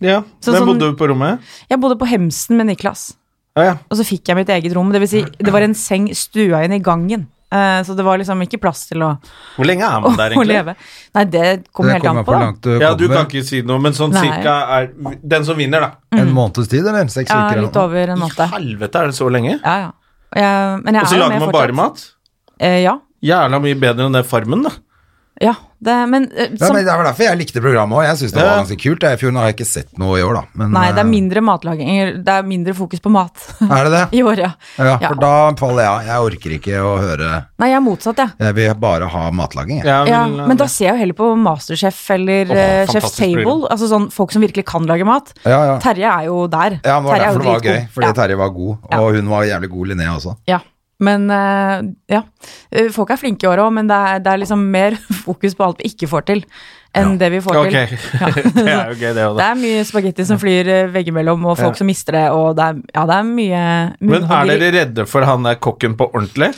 ja. Så Hvem sånn- bodde du på rommet? Jeg bodde på Hemsen med Niklas, Ja, ja. og så fikk jeg mitt eget rom. Det vil si, det var en seng stua inn i gangen. Eh, Så det var liksom ikke plass til å, Hvor lenge er å, man der, egentlig? leve. Nei, det kommer Det helt an kommer på. på da. langt du Ja, du kan kommer. ikke si noe, men sånn Nei. cirka er Den som vinner, da. En måneds tid, eller? Seks Mm. Ja, uker? eller litt noe. over en måned. Helvete, er det så lenge? Ja, ja. Og jeg- Men jeg Og så er jo lager med man fortsatt. bare mat? Eh, Ja. Jævla mye bedre enn det Farmen, da. ja det, men, eh, Ja, som, men Det var derfor jeg likte programmet òg. Jeg syns det Ja. var ganske kult. Jeg, I fjor nå har jeg ikke sett noe i år, da. Men, Nei, det er eh, mindre matlaging. Det er mindre fokus på mat Er det det? i år, ja. Ja, Ja. for da faller jeg av. Jeg orker ikke å høre Nei, jeg er motsatt, jeg. Jeg vil bare ha matlaging, jeg. Ja, Ja, men, eh, men da ser jeg jo heller på Masterchef eller Åh, eh, Chef's fantastisk Table. program. Altså sånn folk som virkelig kan lage mat. Ja, ja. Terje er jo der. Ja, men det var Terje er jo derfor det var gøy, dritgod. fordi ja. Terje var god, Ja. og hun var jævlig god, Linnea også. Ja. Men eh, ja. Eh, Folk er flinke i år òg, men det er, det er liksom mer fokus på alt vi ikke får til, enn det vi får Ok. til. det er jo gøy, det òg, Det da. er mye spagetti som flyr eh, veggimellom, og folk som mister det, og det er, ja, det er mye Men er munnhoggeri. dere redde for han der kokken på ordentlig?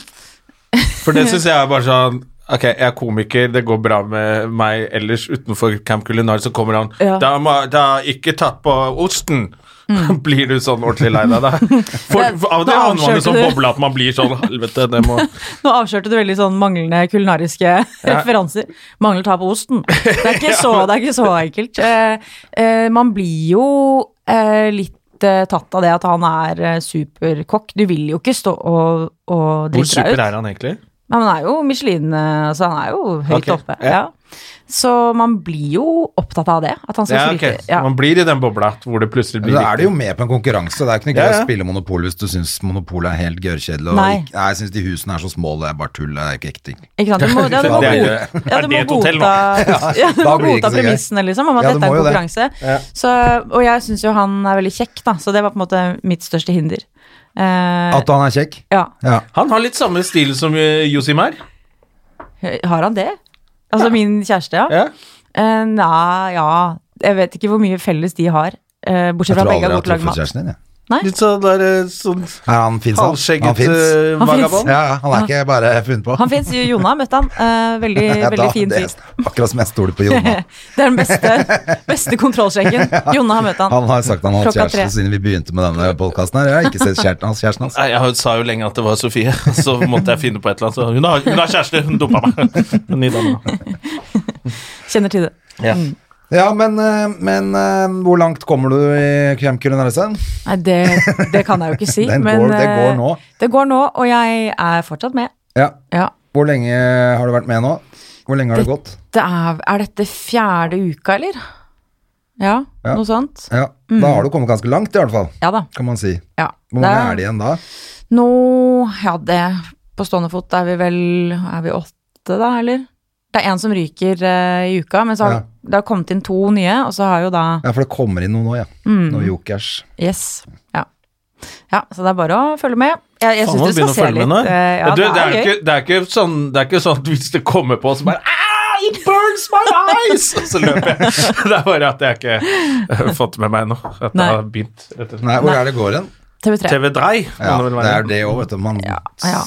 For det syns jeg er bare sånn Ok, jeg er komiker, det går bra med meg ellers utenfor Camp Culinar, så kommer han Ja. da, må, da ikke tatt på osten! Blir du sånn ordentlig lei deg da? For, Mm. Det- for, av og til da havner man i avslørte sånn du. boble at man blir sånn Helvete, det må Nå avslørte du veldig sånn manglende kulinariske referanser. Mangler ta på osten. Det er ikke så, det er ikke så enkelt. Eh, eh, man blir jo eh, litt eh, tatt av det at han er eh, superkokk. Du vil jo ikke stå og, og Hvor drite super deg ut. er han egentlig? Men han er jo Michelin, eh, så han er jo høyt Ok, oppe. ja. Ja. Så man blir jo opptatt av det. At han skal Ja, slite. ok. Ja. Man blir i den bobla hvor det plutselig Men blir da er du jo med på en konkurranse. Det er ikke noe gøy Ja, ja. å spille Monopol hvis du syns Monopol er helt gørrkjedelig. og Nei. ikke- Nei, jeg syns de husene er så små, det er bare tull. Det er ikke ekte ting. Ikke sant? Du må, ja, du må, Det er godta- jo- ja, er du det må et hotell godta, ja, du Da må blir det ikke godta så gøy. premissene, liksom, om at Ja, du dette må er en jo det. konkurranse. Så, og jeg syns jo han er veldig kjekk, da, så det var på en måte mitt største hinder. Eh, At han er kjekk? ja. Ja. Han har litt samme stil som eh, Josimar. Har han det? Altså min kjæreste, ja. Ja. Eh, nei, ja Jeg vet ikke hvor mye felles de har. Eh, bortsett Jeg fra tror aldri jeg begge har har godt lagd truffet mat. kjæresten din, jeg. Litt sånn der eh, sånn Ja, han fins, han. Han halvskjegget fins. eh, Han finnes. vagabond. Ja, ja, han er ikke bare funnet på. Han fins. Jonna har møtt han. Eh, veldig Ja, da- veldig fin fyr. det- Akkurat som jeg stoler på Jonna. Det er den beste, beste kontrollsjekken. Jonna har møtt han. Han har sagt han har hatt Klokka tre. kjæreste siden vi begynte med denne podkasten her. Jeg har ikke sett kjæresten hans. Kjæresten hans. Nei, Jeg sa jo lenge at det var Sofie, så måtte jeg finne på et eller annet. Så hun har, hun har kjæreste, hun dumpa meg. Hun i Danmark. Kjenner til det. Mm. Ja, men, eh, men eh, hvor langt kommer du i Camp Culinarisen? Nei, det, det kan jeg jo ikke si. Den men går- det går eh, nå. Det går nå, og jeg er fortsatt med. Ja. Ja. Hvor lenge har du vært med nå? Hvor lenge har det gått? Det er, er dette fjerde uka, eller? Ja, Ja. noe sånt. Ja, Da har du kommet ganske langt, i hvert fall. Ja da. Kan man si. Ja. Hvor mange er det igjen da? Nå Ja, det På stående fot er vi vel Er vi åtte, da, eller? Det er én som ryker eh, i uka, men så har Ja. det har kommet inn to nye, og så har jo da Ja, For det kommer inn noe nå, ja. Mm. Noen jokers. Yes. Ja. ja. Så det er bare å følge med. Jeg, jeg Faen, syns må dere skal begynne å se følge med litt. nå. eh, ja, du, det, er jo gøy. ikke, det, er ikke sånn, det er ikke sånn at hvis det kommer på, så bare «Ah, It burns my eyes! Og så løper jeg. Det er bare at jeg ikke eh, fått med meg nå. At det Nei. har begynt. rett og slett. Nei, hvor er det går hen? TV3. TV Drei. Ja, må det vel det være. er det òg, vet du. Man ja.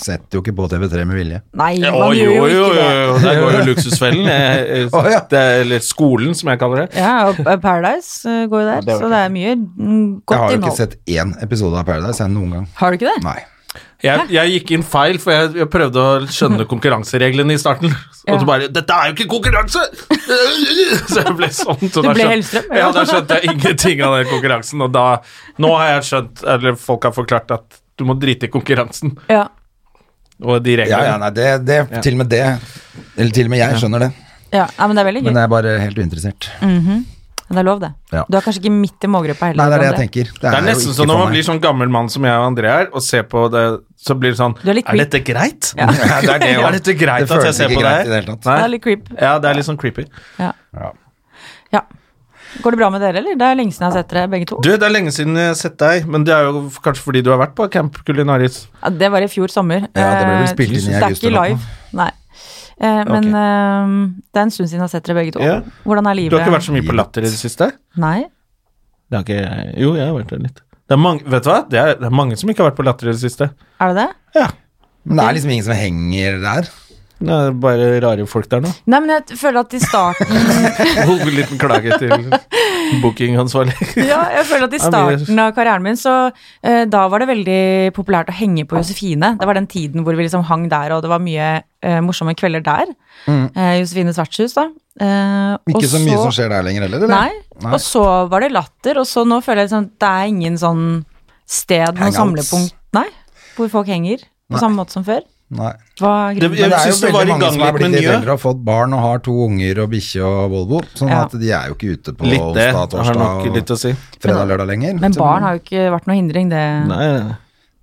setter jo ikke på TV3 med vilje. Nei, Ja, man jo, gjør jo jo, ikke det. jo, Der går jo luksusfellen. eh, eh, Å, ja. det er- Eller skolen, som jeg kaller det. Ja, og Paradise eh, går jo der, så det er mye mm, Jeg har godt jo ikke innhold. sett én episode av Paradise jeg noen gang. Har du ikke det? Nei. Jeg, jeg gikk inn feil, for jeg, jeg prøvde å skjønne konkurransereglene i starten. Og Ja. så bare 'Dette er jo ikke konkurranse!' Så jeg ble sånn. Så Du da ble skjøn- Hellstrøm, Ja, ja. da skjønte jeg ingenting av den konkurransen. Og da, nå har jeg skjønt, eller folk har forklart, at du må drite i konkurransen Ja. og de Ja, ja, reglene. nei, det, det Til og med det. Eller til og med jeg skjønner det. ja. Nei, men det er veldig gøy. Men jeg er bare helt uinteressert. Mm. Det er lov, det. Ja. Du er kanskje ikke midt i målgruppa heller. Nei, det er det jeg André. tenker. Det er jo nesten ikke som for når man meg. blir sånn gammel mann som jeg og André er, og ser på det, så blir det sånn Du er litt creep. dette greit? Ja. Ja, det er det også. Er dette greit Det at jeg føles ser på ikke greit det i det her? hele tatt. Nei. Det er litt creep. Ja, det er litt sånn creepy. Ja. Ja. ja. Går det bra med dere, eller? Det er lenge siden jeg har sett dere, begge to. Du, det er lenge siden jeg har sett deg, men det er jo kanskje fordi du har vært på Camp Culinaris. Ja, det var i fjor sommer. Ja, det ble vel Eh, spilt inn i Det er august ikke eller live. Nei. Eh, men eh, det er en stund siden jeg har sett dere begge to. Ja. Hvordan er livet? Du har ikke vært så mye på Latter i det siste? Nei. Det har ikke, jo, jeg har vært der litt. Det er mange, vet du hva? Det er, det er mange som ikke har vært på Latter i det siste. Er det det? Ja. Men det er liksom ingen som henger der. Det er bare rare folk der nå. Nei, men jeg føler at i starten Hold en Oh, liten klage til bookingansvarlig. Ja, jeg føler at i Ja, men jeg- starten av karrieren min, så eh, da var det veldig populært å henge på Josefine. Det var den tiden hvor vi liksom hang der, og det var mye eh, morsomme kvelder der. Eh, Josefines vertshus, da. Eh, og Ikke så mye så- som skjer der lenger heller, eller? Nei. Og så var det latter, og så nå føler jeg liksom at det er ingen sånn sted, noe Hangouts. samlepunkt, nei, hvor folk henger på samme måte som før. Nei. Hva er grunnen? Det- Jeg Men det er jo synes det var veldig i mange gang som er litt blitt med litt nye. eldre og fått barn og har to unger og bikkje og Volvo, sånn Ja. at de er jo ikke ute på Litt det onsdag, har nok torsdag litt og å si. fredag, lørdag lenger. Men barn har jo ikke vært noe hindring, det. Nei,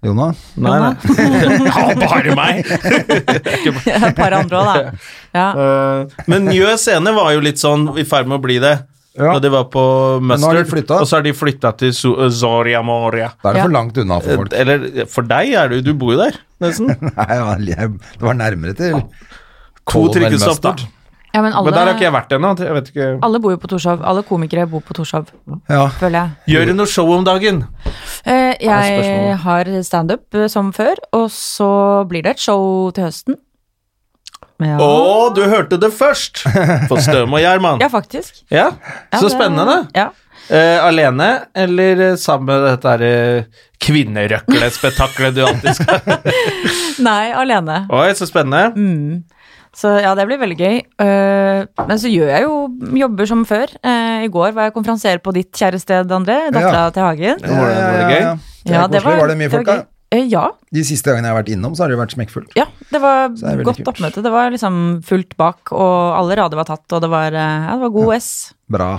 Jona? nei. nei. ja, bare meg! Det er Et par andre òg, da. Ja. Eh, Men Njø scene var jo litt sånn i ferd med å bli det. Ja. Da de var på nå har Mustard, de flyttet. og så har de flytta til Su- eh, Zoria Moria. Da er det Ja. for langt unna for folk. Eller for deg er det jo Du bor jo der, nesten. Nei, ja, jeg- det var nærmere til. To Kolonel trikkestopp Mustard. bort. ja, men Men der har ikke alle, jeg vært ennå. Jeg vet ikke. alle bor jo på Torshov. Alle komikere bor på Torshov, Ja. føler jeg. Gjør du noe show om dagen? Eh, jeg spørsmålet. har standup eh, som før, og så blir det et show til høsten. Ja, Å, du hørte det først! På Støm og Gjerman. ja faktisk. Ja, Ja, så det- spennende. Ja. Eh, alene eller eh, sammen med dette her, eh, kvinnerøklespetakkelet du alltid skal Nei, alene. Oi, så spennende. Mm. Så ja, det blir veldig gøy. Eh, men så gjør jeg jo jobber som før. Eh, I går var jeg konferansier på ditt kjære sted, André. Dattera Ja. til Hagen. Var det, var det gøy? Ja, det var, koselig. var det mye folk var der? gøy. Eh, ja. De siste gangene jeg har vært innom, så har det jo vært smekkfullt. Ja, det var det er veldig godt kult. oppmøte. Det var liksom fullt bak, og alle rader var tatt, og det var, eh, ja, det var god S. Bra.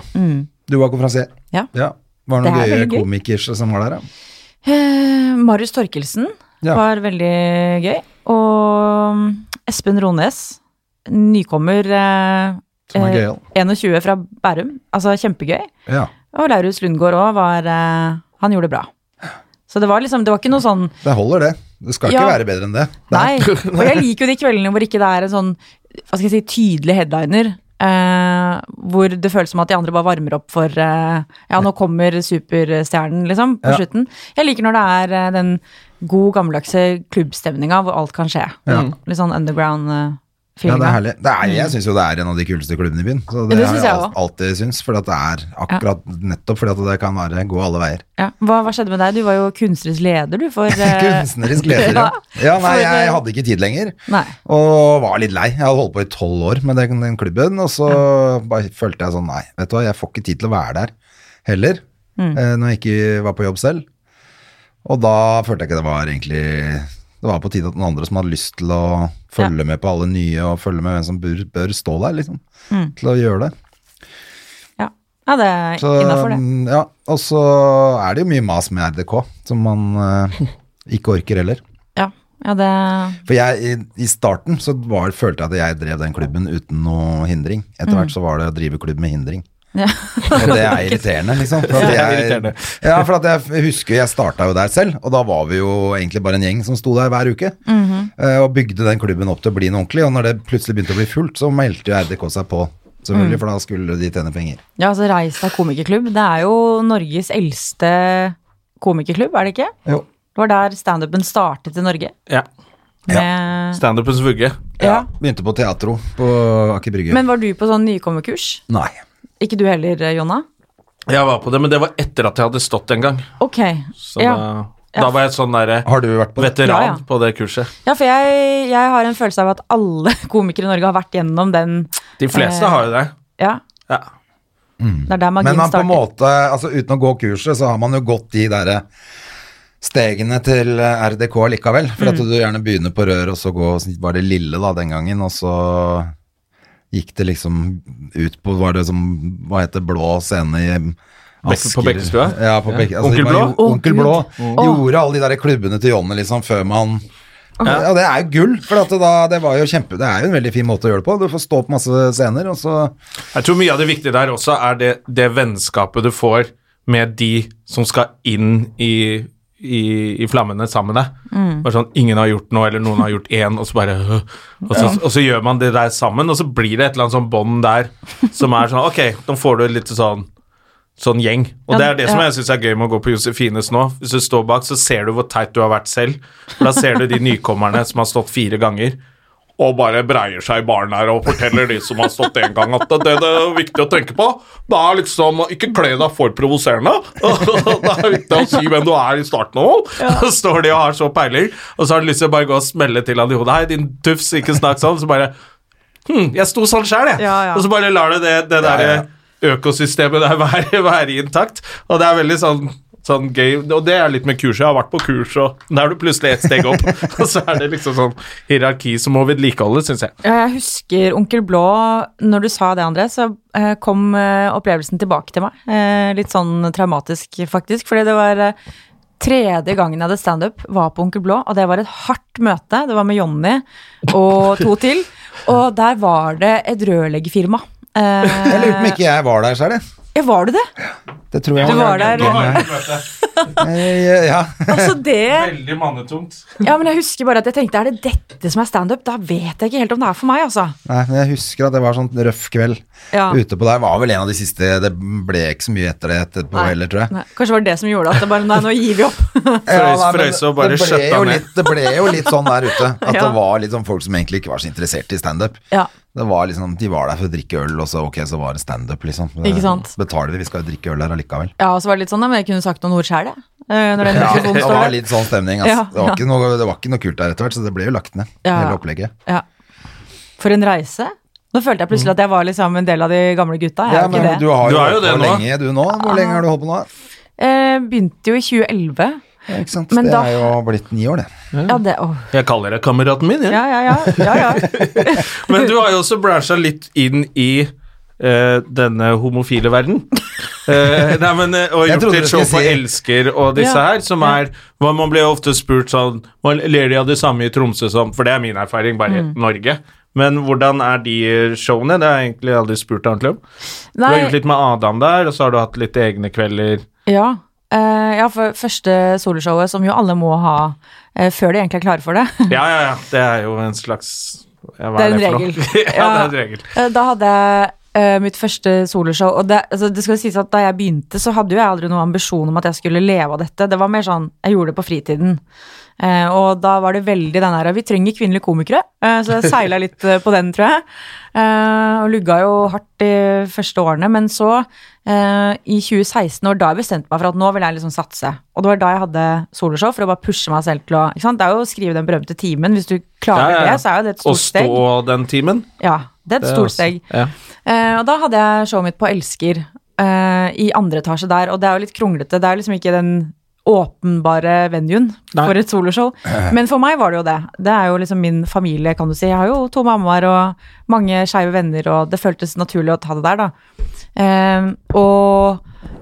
Du var konferansier. Mm. Ja. Var det Det noen er gøye veldig gøy. komikere som var der, ja? Eh, Marius Torkelsen Ja. var veldig gøy. Og mm, Espen Rones, nykommer eh, Som er eh, gøyal. 21 fra Bærum. Altså kjempegøy. Ja. Og Laurus Lundgaard òg var eh, Han gjorde det bra. Så det var liksom Det var ikke noe sånn Det holder, det. Det skal Ja. ikke være bedre enn det. Det er- Nei. Og jeg liker jo de kveldene hvor ikke det er en sånn Hva skal jeg si tydelig headliner. eh, hvor det føles som at de andre bare varmer opp for eh, Ja, nå kommer superstjernen, liksom, på Ja. slutten. Jeg liker når det er eh, den god, gammeldagse klubbstemninga hvor alt kan skje. Litt sånn Ja, det er underground-feelinga. herlig. Det er, jeg syns jo det er en av de kuleste klubbene i byen. Så det, Mm. Ja, det har synes jeg jeg al- alltid syns, for at det er akkurat nettopp fordi at det kan være gå alle veier. ja. hva, hva skjedde med deg? Du var jo kunstnerisk leder, du, for eh, Kunstnerisk leder, ja. ja. Nei, For, eh, jeg hadde ikke tid lenger, Nei. og var litt lei. Jeg hadde holdt på i tolv år med den, den klubben, og så bare følte jeg sånn, nei, vet du hva, jeg får ikke tid til å være der heller, Mm. eh, når jeg ikke var på jobb selv. Og da følte jeg ikke det var egentlig Det var på tide at noen andre som hadde lyst til å følge med på alle nye, og følge med hvem som bør, bør stå der, liksom, Mm. til å gjøre det. Ja, ja det er Så, innafor, det. mm, Ja, og så er det jo mye mas med RDK, som man eh, ikke orker heller. Ja, ja det For jeg, i, i starten så var, følte jeg at jeg drev den klubben uten noe hindring. Etter Mm. hvert så var det å drive klubb med hindring. ja. Og det er irriterende, liksom. For at Det er jeg, irriterende. ja, for at jeg husker jeg starta jo der selv, og da var vi jo egentlig bare en gjeng som sto der hver uke. Mhm. eh, Og bygde den klubben opp til å bli noe ordentlig. Og når det plutselig begynte å bli fullt, så meldte jo RDK seg på, Mm. selvfølgelig, for da skulle de tjene penger. Ja, altså Reis deg komikerklubb. Det er jo Norges eldste komikerklubb, er det ikke? Jo. Det var der standupen startet i Norge. Ja. Med, Standupens vugge. ja. Begynte på Teatro på Aker Brygge. Men var du på sånn nykommerkurs? Nei. Ikke du heller, Jonna? Jeg var på det, men det var etter at jeg hadde stått en gang. Ok. Så Ja. da, da var jeg sånn derre Har du vært på det? veteran Ja, ja. på det kurset. ja, for jeg, jeg har en følelse av at alle komikere i Norge har vært gjennom den. De fleste Eh. har jo det. Ja, Ja. det er der Men magien man på en starter. måte, altså uten å gå kurset, så har man jo gått de der eh, stegene til eh, RDK likevel. For Mm. at du gjerne begynner på rør, og så gå, var det lille da den gangen, og så gikk det liksom ut på, var det som, hva heter blå scene i eh, Asker. på Bekkestua? Ja, på Bekke, altså, Onkel man Blå? gjorde- Onkel Å, Blå Gud. gjorde alle de der klubbene til Jonny liksom før man ja. det er jo gull, for at det, da, det var jo kjempe Det er jo en veldig fin måte å gjøre det på. Du får stå på masse scener, og så Jeg tror mye av det viktige der også er det, det vennskapet du får med de som skal inn i, i, i flammene sammen med deg. Mm. Bare sånn, ingen har gjort noe, eller noen har gjort én, og så bare øh, og så, og så gjør man det der sammen, og så blir det et eller annet sånn bånd der som er sånn Ok, nå får du litt sånn Sånn gjeng. Og Ja, det er det som ja. jeg syns er gøy med å gå på Josefines nå. Hvis du står bak, så ser du hvor teit du har vært selv. For da ser du de nykommerne som har stått fire ganger. og bare breier seg i baren her og forteller de som har stått en gang at det, det er viktig å tenke på. Det er liksom Ikke kle deg for provoserende. Det er viktig å si hvem du er i starten av. Så står de og har så peiling, og så har de lyst til å bare gå og smelle til han i hodet. Hei, din tufs, ikke snakk sånn. Så bare Hm, jeg sto sånn sjøl, jeg. Ja, ja. Og så bare lar du det, det der eh, økosystemet der være, være intakt. Og det er veldig sånn Sånn gøy, og det er litt med kurset. Jeg har vært på kurs, og da er du plutselig ett steg opp. og så er det liksom sånn hierarki som må vedlikeholdes, syns jeg. Ja, Eh, jeg husker Onkel Blå, når du sa det, André, så eh, kom eh, opplevelsen tilbake til meg. Eh, litt sånn traumatisk, faktisk. Fordi det var eh, tredje gangen jeg hadde standup, var på Onkel Blå, og det var et hardt møte. Det var med Jonny og to til. Og der var det et rørleggerfirma. Eh, Jeg lurer på om ikke jeg var der sjøl, jeg. ja, var du det? Det tror jeg Du var der. Eh, Ja. Altså, det Veldig mannetungt. Ja, men jeg husker bare at jeg tenkte, er det dette som er standup? Da vet jeg ikke helt om det er for meg, altså. Nei, men jeg husker at det var sånn røff kveld Ja. ute på der. Var vel en av de siste Det ble ikke så mye etter det etterpå Nei. heller, tror jeg. Nei, kanskje det var det som gjorde at det bare, nei, nå gir vi opp. Frøys- nei, men frøys og bare det ble skjøtta jo ned. Litt, det ble jo litt sånn der ute. At Ja. det var litt sånn folk som egentlig ikke var så interessert i standup. Ja. Det var liksom, De var der for å drikke øl, og så ok, så var det standup, liksom. Ikke sant? Betaler de, vi skal jo drikke øl her allikevel. Ja, og så var det litt sånn, ja, men jeg kunne sagt noen ord sjøl, jeg. Eh, Når den Ja, mikrofonen det står var der. litt sånn stemning. ass. Ja, det, var ja. ikke noe, det var ikke noe kult der etter hvert, så det ble jo lagt ned, Ja, ja. hele opplegget. Ja. For en reise. Nå følte jeg plutselig at jeg var liksom en del av de gamle gutta. Jeg Mm. Ja, er men ikke det. Ah. du har jo Du er jo holdt på det nå. lenge, du nå. Hvor lenge har du holdt på nå? Eh, begynte jo i 2011. Ja, ikke sant? Men det da- er jo blitt ni år, det. Ja, det åh. Jeg kaller deg kameraten min, jeg. Ja, ja, ja. ja, ja. Men du har jo også bransja litt inn i eh, denne homofile verden. Eh, nei, men, eh, og Jeg gjort trodde et du show skulle på si- Elsker og disse Ja. her, som er hva Man blir jo ofte spurt sånn Man ler de av det samme i Tromsø som For det er min erfaring, bare Mm. i Norge. Men hvordan er de showene? Det har jeg egentlig aldri spurt ordentlig om. Du har Nei, gjort litt med Adam der, og så har du hatt litt egne kvelder. ja. Eh, ja, for første soloshowet, som jo alle må ha eh, før de egentlig er klare for det. Ja, ja, ja. Det er jo en slags ja, hva Det er en for noe? regel. ja, det er en regel. Eh, Da hadde jeg eh, mitt første soloshow, og det, altså, det skal sies at da jeg begynte, så hadde jo jeg aldri noen ambisjon om at jeg skulle leve av dette. Det var mer sånn, jeg gjorde det på fritiden. Eh, og da var det veldig den her, vi trenger kvinnelige komikere, Eh, så jeg seila litt eh, på den, tror jeg. Eh, og lugga jo hardt de første årene, men så, eh, i 2016, var da jeg bestemte meg for at nå vil jeg liksom satse. Og det var da jeg hadde soloshow, for å bare pushe meg selv til å ikke sant? Det er jo å skrive den berømte timen. Hvis du klarer Ja, ja, ja. det, så er jo det et Å stort stå steg. den timen. Ja, det er et det er stort også- steg. Ja. Eh, og da hadde jeg showet mitt på Elsker eh, i andre etasje der, og det er jo litt kronglete. Det er liksom ikke den åpenbare venuen Nei. for et soloshow. Men for meg var det jo det. Det er jo liksom min familie, kan du si. Jeg har jo to mammaer og mange skeive venner, og det føltes naturlig å ta det der, da. Eh, og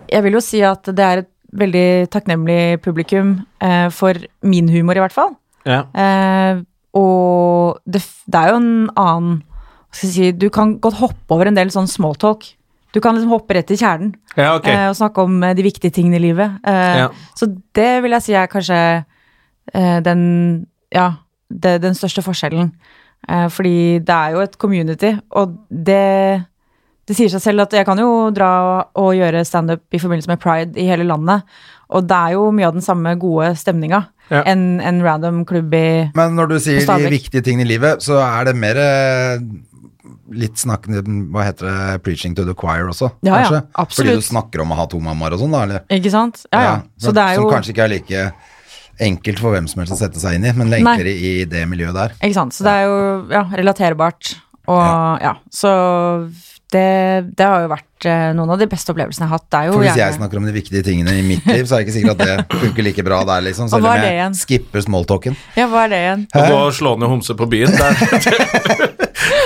jeg vil jo si at det er et veldig takknemlig publikum eh, for min humor, i hvert fall. Ja. Eh, og det, f- det er jo en annen hva skal jeg si, Du kan godt hoppe over en del sånn smalltalk. Du kan liksom hoppe rett til kjernen ja, ok. eh, og snakke om eh, de viktige tingene i livet. Eh, Ja. Så det vil jeg si er kanskje eh, den Ja, det, den største forskjellen. Eh, fordi det er jo et community, og det det sier seg selv at jeg kan jo dra og gjøre standup i forbindelse med pride i hele landet, og det er jo mye av den samme gode stemninga Ja. enn en random klubb i Men når du sier de Stabekk. viktige tingene i livet, så er det mer eh, litt snakkende Hva heter det? Preaching to the choir også, Ja, ja, kanskje? absolutt. Fordi du snakker om å ha to mammaer og sånn, da? Eller? Ikke sant? Ja, ja. Så det er jo Som kanskje ikke er like enkelt for hvem som helst å sette seg inn i, men det er Nei. enklere i det miljøet der. Ikke sant? Så det er jo ja, relaterbart. Og ja, så det, det har jo vært eh, noen av de beste opplevelsene jeg har hatt. Det er jo For hvis gjerne- jeg snakker om de viktige tingene i mitt liv, så er det ikke sikkert at det funker like bra der, liksom. Og Selv hva er om det igjen? jeg skipper smalltalken. Ja, hva er det igjen? Å gå og slå ned homse på byen, det er det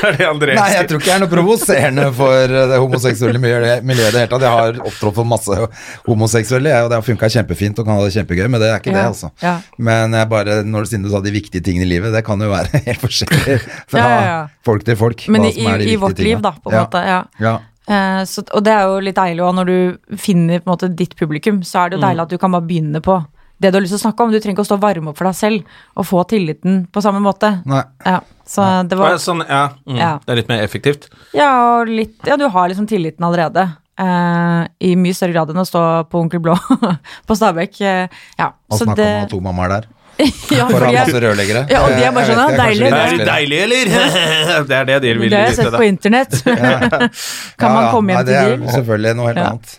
er det André Nei, jeg tror ikke jeg er noe provoserende for eh, det homoseksuelle miljøet miljøet i det hele tatt. Jeg har opptrådt for masse homoseksuelle, jeg, og det har funka kjempefint og kan ha det kjempegøy, men det er ikke Ja, det, altså. ja. Men jeg bare, når du, siden du sa de viktige tingene i livet, det kan jo være helt forskjellig fra Ja, ja, ja. folk til folk. Men hva i, som er de i, i viktige vårt tingene. liv, da, på en ja. måte. Ja. Ja. Eh, så, og det er jo litt deilig også, når du finner på en måte ditt publikum, så er det jo Mm. deilig at du kan bare begynne på det du har lyst til å snakke om. Du trenger ikke å stå og varme opp for deg selv og få tilliten på samme måte. Nei. Ja, så det Ja, var sånn, ja. Mm. Ja. Det er litt mer effektivt. Ja, og litt, ja, du har liksom tilliten allerede. eh, I mye større grad enn å stå på Onkel Blå på Stabekk. eh, ja. Og så snakke om å ha det, to mammaer der. Ja, For å ha fordi jeg- masse rørleggere. Ja, og de Jeg er bare vet sånn, ikke, «Ah, kanskje deilig, Er de litt vanskeligere. deilige, eller? det er det de vil Det har jeg sett på internett. kan Ja, man ja. komme hjem Nei, til Det de? er jo selvfølgelig noe helt Ja. annet.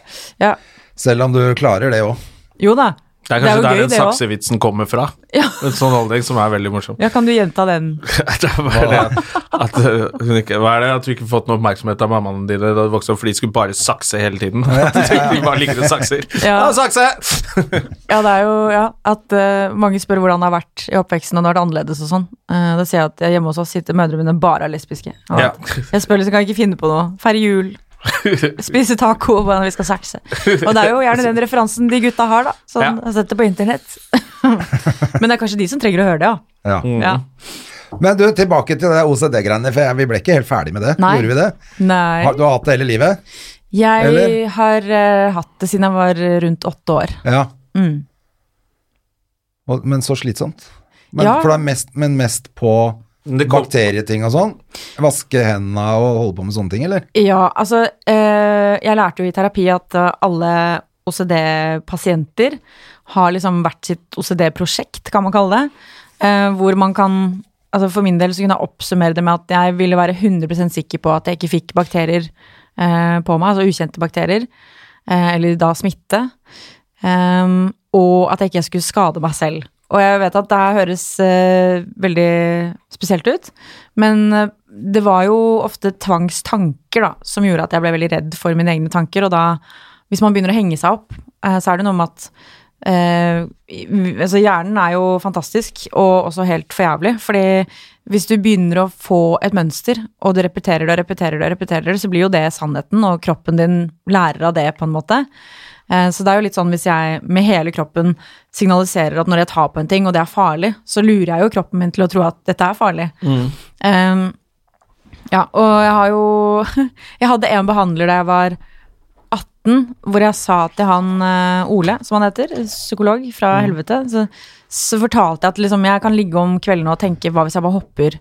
Ja. Selv om du klarer det òg. Jo da. Det er kanskje Det er der jo gøy, den det også. saksevitsen kommer fra. Ja. En sånn holdning som er veldig morsom. ja, kan du gjenta den? Det er bare det at øh, hun ikke, hva er det? At du ikke fått noe oppmerksomhet av mammaene dine da du vokste opp, for de skulle bare sakse hele tiden. de bare liker å sakse. Ja. Ja. sakse! Ja, det er jo ja, at eh, mange spør hvordan det har vært i oppveksten, og når det er annerledes og sånn. Eh, da ser jeg at jeg hjemme hos oss sitter mødrene mine bare er lesbiske. Og Ja. Jeg spør liksom, kan jeg ikke finne på noe. Feire jul. Spise taco, hvordan vi skal sakse. Og det er jo gjerne den referansen de gutta har, da. Sånn, Ja. jeg har sett det på internett. Men det er kanskje de som trenger å høre det, ja. Ja. Mm. Mhm. ja. Men du, tilbake til det OCD-greiene, for jeg- vi ble ikke helt ferdig med det. Nei. Gjorde vi det? Har- Du Nei. har hatt det hele livet? Jeg Eller? har eh, hatt det siden jeg var rundt åtte år. Ja. Mm. Og, men så slitsomt. Men, Ja. For det er mest, men mest på Men det kom- bakterieting og sånn? Vaske hendene og holde på med sånne ting, eller? Ja, altså eh, Jeg lærte jo i terapi at eh, alle OCD-pasienter har liksom hvert sitt OCD-prosjekt, kan man kalle det. eh, hvor man kan altså For min del så kunne jeg oppsummere det med at jeg ville være 100 sikker på at jeg ikke fikk bakterier eh, på meg, altså ukjente bakterier, eh, eller da smitte. Ehm, og at jeg ikke skulle skade meg selv. Og jeg vet at det her høres eh, veldig spesielt ut, men eh, det var jo ofte tvangstanker da, som gjorde at jeg ble veldig redd for mine egne tanker, og da, hvis man begynner å henge seg opp, eh, så er det noe med at eh, i- altså hjernen er jo fantastisk, og også helt for jævlig, fordi hvis du begynner å få et mønster, og du repeterer det og repeterer det, og repeterer det, så blir jo det sannheten, og kroppen din lærer av det på en måte. Eh, Så det er jo litt sånn hvis jeg med hele kroppen signaliserer at når jeg tar på en ting, og det er farlig, så lurer jeg jo kroppen min til å tro at dette er farlig. Ehm, ja, og jeg har jo Jeg hadde en behandler da jeg var 18, hvor jeg sa til han eh, Ole, som han heter, psykolog fra Mm. helvete, så, så fortalte jeg at liksom jeg kan ligge om kveldene og tenke hva hvis jeg bare hopper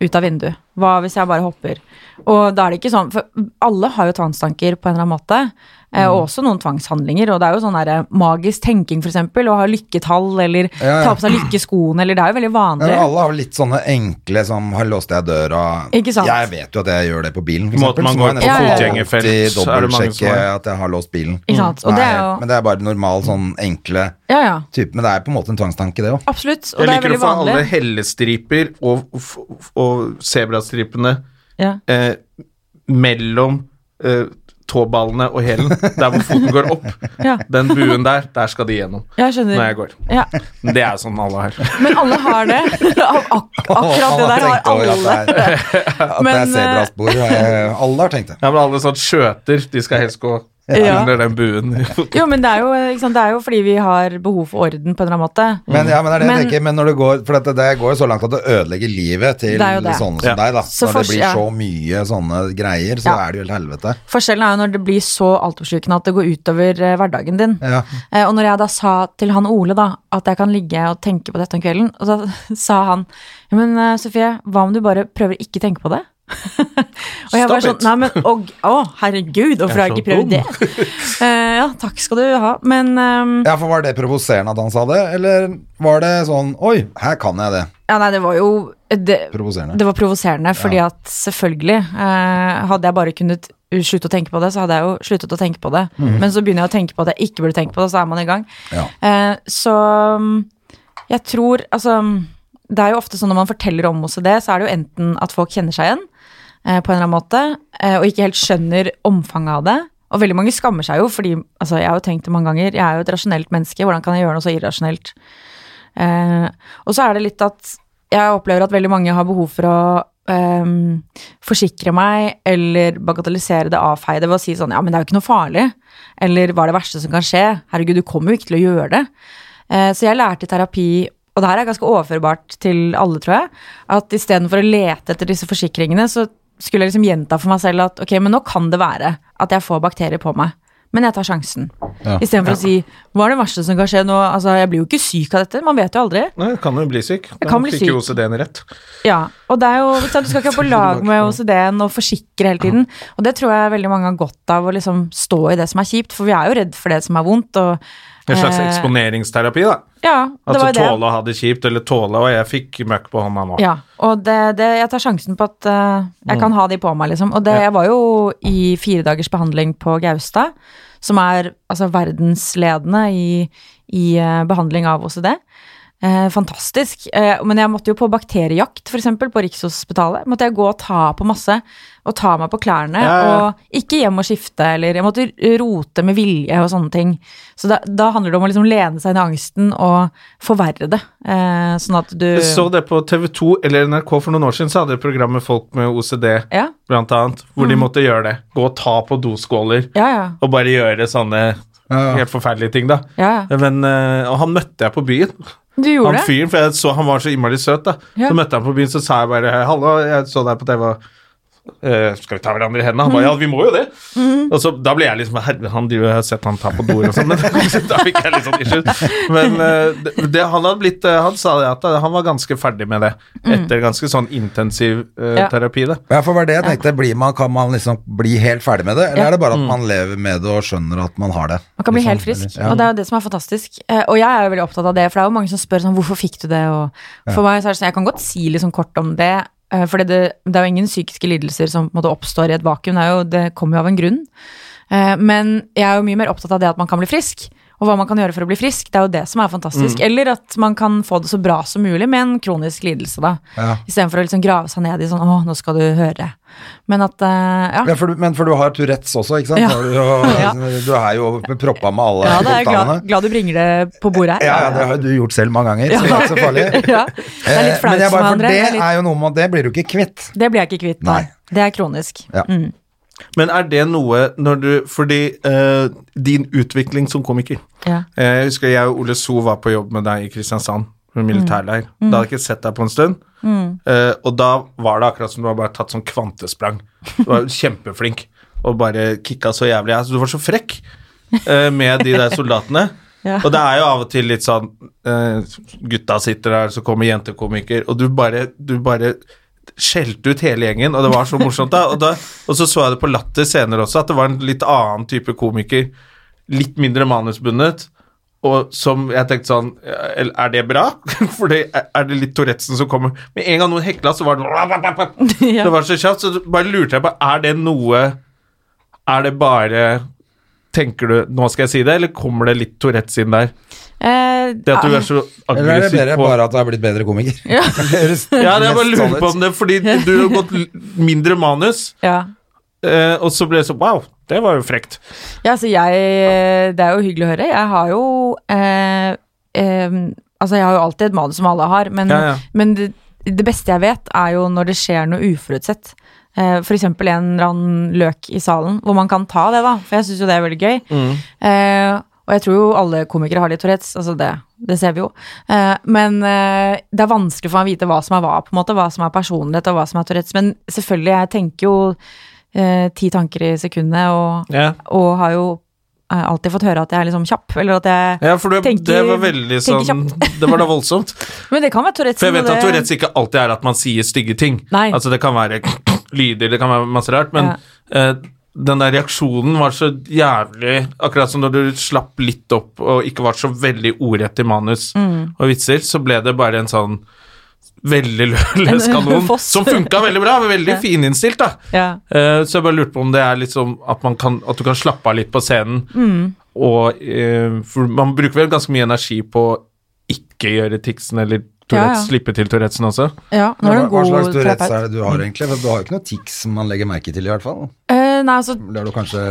ut av vinduet? Hva hvis jeg bare hopper? Og da er det ikke sånn, for alle har jo tvangstanker på en eller annen måte, eh, Mm. og også noen tvangshandlinger, og det er jo sånn der magisk tenking for eksempel, å ha lykketall, eller Ja, ja. ta på seg lykkeskoene, eller det er jo veldig Ja, vanlig. men alle har vel litt sånne enkle som har låst jeg døra Ikke sant? Jeg vet jo at jeg gjør det på bilen, for Måten eksempel. man så må jeg går på nesten fotgjengerfelt, alltid så er det mange som dobbeltsjekke har. at jeg har låst bilen. Ikke sant? Og Nei, det er jo- Men det er bare normal sånn enkle Ja, ja, type. Men det er på en måte en tvangstanke, det òg. absolutt, og Jeg det er liker å veldig få vanlig. alle hellestriper og, og, og sebrastripene Ja. eh, mellom eh, tåballene og hælen, der hvor foten går opp. Ja. Den buen der, der skal de gjennom Jeg skjønner. når jeg går. Ja. Det er jo sånn alle har. Men alle har det. Ak ak akkurat det der har alle. At det er, at det Men, er zebraspor. eh, Alle har tenkt det. Ja, men alle sånn skjøter, de skal helst gå Ja. under den buen i foten. Jo, men det er jo, ikke sant? det er jo fordi vi har behov for orden på en eller annen måte. Men, ja, men det er det Men- jeg tenker. Men når det går For det, det går jo så langt at det ødelegger livet til Det er jo det. sånne som Ja. deg, da. når Så det fors- blir ja. så mye sånne greier, så Ja. er det jo helt helvete. Forskjellen er jo når det blir så altoppslukende at det går utover eh, hverdagen din. Ja. Eh, og når jeg da sa til han Ole da, at jeg kan ligge og tenke på dette om kvelden, og da sa han «Ja, Men eh, Sofie, hva om du bare prøver ikke tenke på det? og jeg Stop var sånn it. Nei, men å, å herregud, hvorfor har jeg så ikke dum. prøvd det? Eh, ja, takk skal du ha. Men ehm, Ja, for var det provoserende at han sa det, eller var det sånn Oi, her kan jeg det. Ja, nei, det var jo eh, Det, Provoserende. det var provoserende, fordi at selvfølgelig eh, Hadde jeg bare kunnet slutte å tenke på det, så hadde jeg jo sluttet å tenke på det. Men så begynner jeg å tenke på at jeg ikke burde tenke på det, og så er man i gang. Mhm. Ja. Eh, så mm, jeg tror Altså, det er jo ofte sånn når man forteller om OCD, så er det jo enten at folk kjenner seg igjen eh, på en eller annen måte, eh, og ikke helt skjønner omfanget av det. Og veldig mange skammer seg jo, fordi altså, jeg har jo tenkt det mange ganger. Jeg er jo et rasjonelt menneske, hvordan kan jeg gjøre noe så irrasjonelt? Eh, og så er det litt at jeg opplever at veldig mange har behov for å ehm, forsikre meg eller bagatellisere det, avfeie det ved å si sånn ja, men det er jo ikke noe farlig. Eller hva er det verste som kan skje? Herregud, du kommer jo ikke til å gjøre det. Eh, så jeg lærte i terapi, og det her er ganske overførbart til alle, tror jeg, at istedenfor å lete etter disse forsikringene, så skulle jeg liksom gjenta for meg selv at ok, men nå kan det være at jeg får bakterier på meg. Men jeg tar sjansen. Istedenfor å si hva er det verste som kan skje nå? Altså, jeg blir jo ikke syk av dette. Man vet jo aldri. Nei, kan jo bli syk. Da kan bli fikk jo syk. OCD-en rett. Ja, og det er jo, ikke sant, du skal ikke være på lag med OCD-en og forsikre hele tiden. Og det tror jeg veldig mange har godt av å liksom stå i det som er kjipt, for vi er jo redd for det som er vondt. Og En slags Eh, eksponeringsterapi, da. Ja, det Altså var jo det. tåle å ha det kjipt, eller tåle Og jeg fikk møkk på hånda nå. Ja, og det, det, jeg tar sjansen på at eh, jeg kan ha de på meg, liksom. Og det, jeg var jo i fire dagers behandling på Gaustad, som er altså, verdensledende i, i eh, behandling av OCD. Eh, fantastisk. Eh, men jeg måtte jo på bakteriejakt, f.eks. på Rikshospitalet. Måtte jeg gå og ta på masse, og ta meg på klærne. Og ikke hjem og skifte, eller jeg måtte rote med vilje og sånne ting. Så da, da handler det om å liksom lene seg inn i angsten og forverre det. Eh, sånn at du Jeg så det på TV 2 eller NRK for noen år siden, så hadde de et program med folk med OCD, Ja. Mm. blant annet, hvor de måtte gjøre det. Gå og ta på doskåler, Ja, ja. og bare gjøre sånne helt forferdelige ting, da. Ja, ja. Men, eh, og han møtte jeg på byen. Du gjorde han det? fyren, for jeg så han var så innmari søt, da. Ja. Så møtte jeg ham på byen, så sa jeg bare 'hallo, jeg så deg på TV'. eh, skal vi ta hverandre i hendene? Han ba, Mm. ja, vi må jo det. Mm-hmm. Og så, Da ble jeg liksom Herre, han driver, jeg har sett han ta på doer og sånn. Men da fikk jeg litt sånn issues. Men eh, det, det, han hadde blitt eh, Han sa det at han var ganske ferdig med det etter ganske sånn intensiv eh, Mm. Ja. terapi, det. Ja, for det var det jeg tenkte. Blir man, kan man liksom bli helt ferdig med det, eller Ja. er det bare at man lever med det og skjønner at man har det? Man kan bli Liksom, helt frisk, eller- og det er jo det som er fantastisk. Eh, Og jeg er jo veldig opptatt av det, for det er jo mange som spør sånn, hvorfor fikk du det? Og for meg så er det sånn, jeg kan godt si litt sånn kort om det, for det, det er jo ingen psykiske lidelser som på en måte oppstår i et vakuum, det, er jo, det kommer jo av en grunn. Eh, Men jeg er jo mye mer opptatt av det at man kan bli frisk, og hva man kan gjøre for å bli frisk, det er jo det som er fantastisk. Eller at man kan få det så bra som mulig med en kronisk lidelse, da. Ja. Istedenfor å liksom grave seg ned i sånn, å, nå skal du høre. Men at, eh, ja. Ja, for du, men for du har Tourettes også, ikke sant? Ja. Har Du, jo- Ja. du er jo proppa med alle Ja, det er jeg spontanene. glad, glad du bringer det på bordet her. Ja, ja, det har jo du gjort selv mange ganger, så det er ikke så farlig. Ja, Det er Eh, litt flaut Men jeg for bare, meg, for André. det Det, litt, er jo noe med Det blir du ikke kvitt. det blir jeg ikke kvitt, nei. Nei. Det er kronisk. Ja. Mm. Men er det noe når du Fordi eh, din utvikling som komiker Ja. Eh, Jeg husker jeg og Ole So var på jobb med deg i Kristiansand, med militærleir. Da hadde jeg ikke sett deg på en stund. Eh, og da var det akkurat som du har bare tatt sånn kvantesprang. Du var kjempeflink og bare kicka så jævlig. Altså, du var så frekk eh, med de der soldatene. Ja. Og det er jo av og til litt sånn eh, Gutta sitter der, så kommer jentekomiker, og du bare, du bare skjelte ut hele gjengen, og det var så morsomt. da, og, da, og så så jeg det på Latter senere også, at det var en litt annen type komiker. Litt mindre manusbundet. Og som jeg tenkte sånn Er er det bra? For det er er det litt Tourettesen som kommer Med en gang noen hekla, så var det Ja. Det var så kjapt, så bare lurte jeg på Er det noe Er det bare Tenker du Nå skal jeg si det, eller kommer det litt Tourettes inn der? Eh, Det at du ja. er så Eller er det aggressiv bedre på bare at du er blitt bedre komiker? Ja, jeg bare lurer på om det Fordi du har gått l- mindre manus ja. eh, Og så ble det sånn Wow, det var jo frekt ja, så jeg eh, Det er jo hyggelig å høre. Jeg har jo eh, eh, Altså, jeg har jo alltid et manus som alle har, men, Ja, ja. men det, det beste jeg vet, er jo når det skjer noe uforutsett. Eh, for eksempel en eller annen løk i salen, hvor man kan ta det, da. For jeg syns jo det er veldig gøy. Mm. Eh, og jeg tror jo alle komikere har litt Tourettes, altså det, det ser vi jo. Eh, men eh, det er vanskelig for meg å vite hva som er hva, på en måte, hva som er personlighet og hva som er Tourettes. Men selvfølgelig, jeg tenker jo eh, ti tanker i sekundet, og, Ja. og har jo eh, alltid fått høre at jeg er liksom kjapp, eller at jeg Ja, for du, Tenker- det var veldig tenker sånn Det var da voldsomt Men det kan være Tourettes. For jeg vet og at det- Tourettes ikke alltid er at man sier stygge ting. Nei. Altså Det kan være lyder, det kan være masse rart, men Ja. eh, den der reaksjonen var så jævlig Akkurat som når du slapp litt opp og ikke var så veldig ordrett i manus Mm. og vitser, så ble det bare en sånn veldig lø- løs En kanon foss. som funka veldig bra. men Veldig Ja. fininnstilt, da. Ja. Eh, så jeg bare lurte på om det er liksom at, man kan, at du kan slappe av litt på scenen. Og, eh, for man bruker vel ganske mye energi på å ikke gjøre tiksen eller Tourettes, Ja, ja. slippe til Tourettesen også. Ja, nå er det Hva, en hva slags god Tourettes er terapeut. det du har egentlig? For du har jo ikke noe tics som man legger merke til, i hvert fall. Eh, nei, altså, Det er du kanskje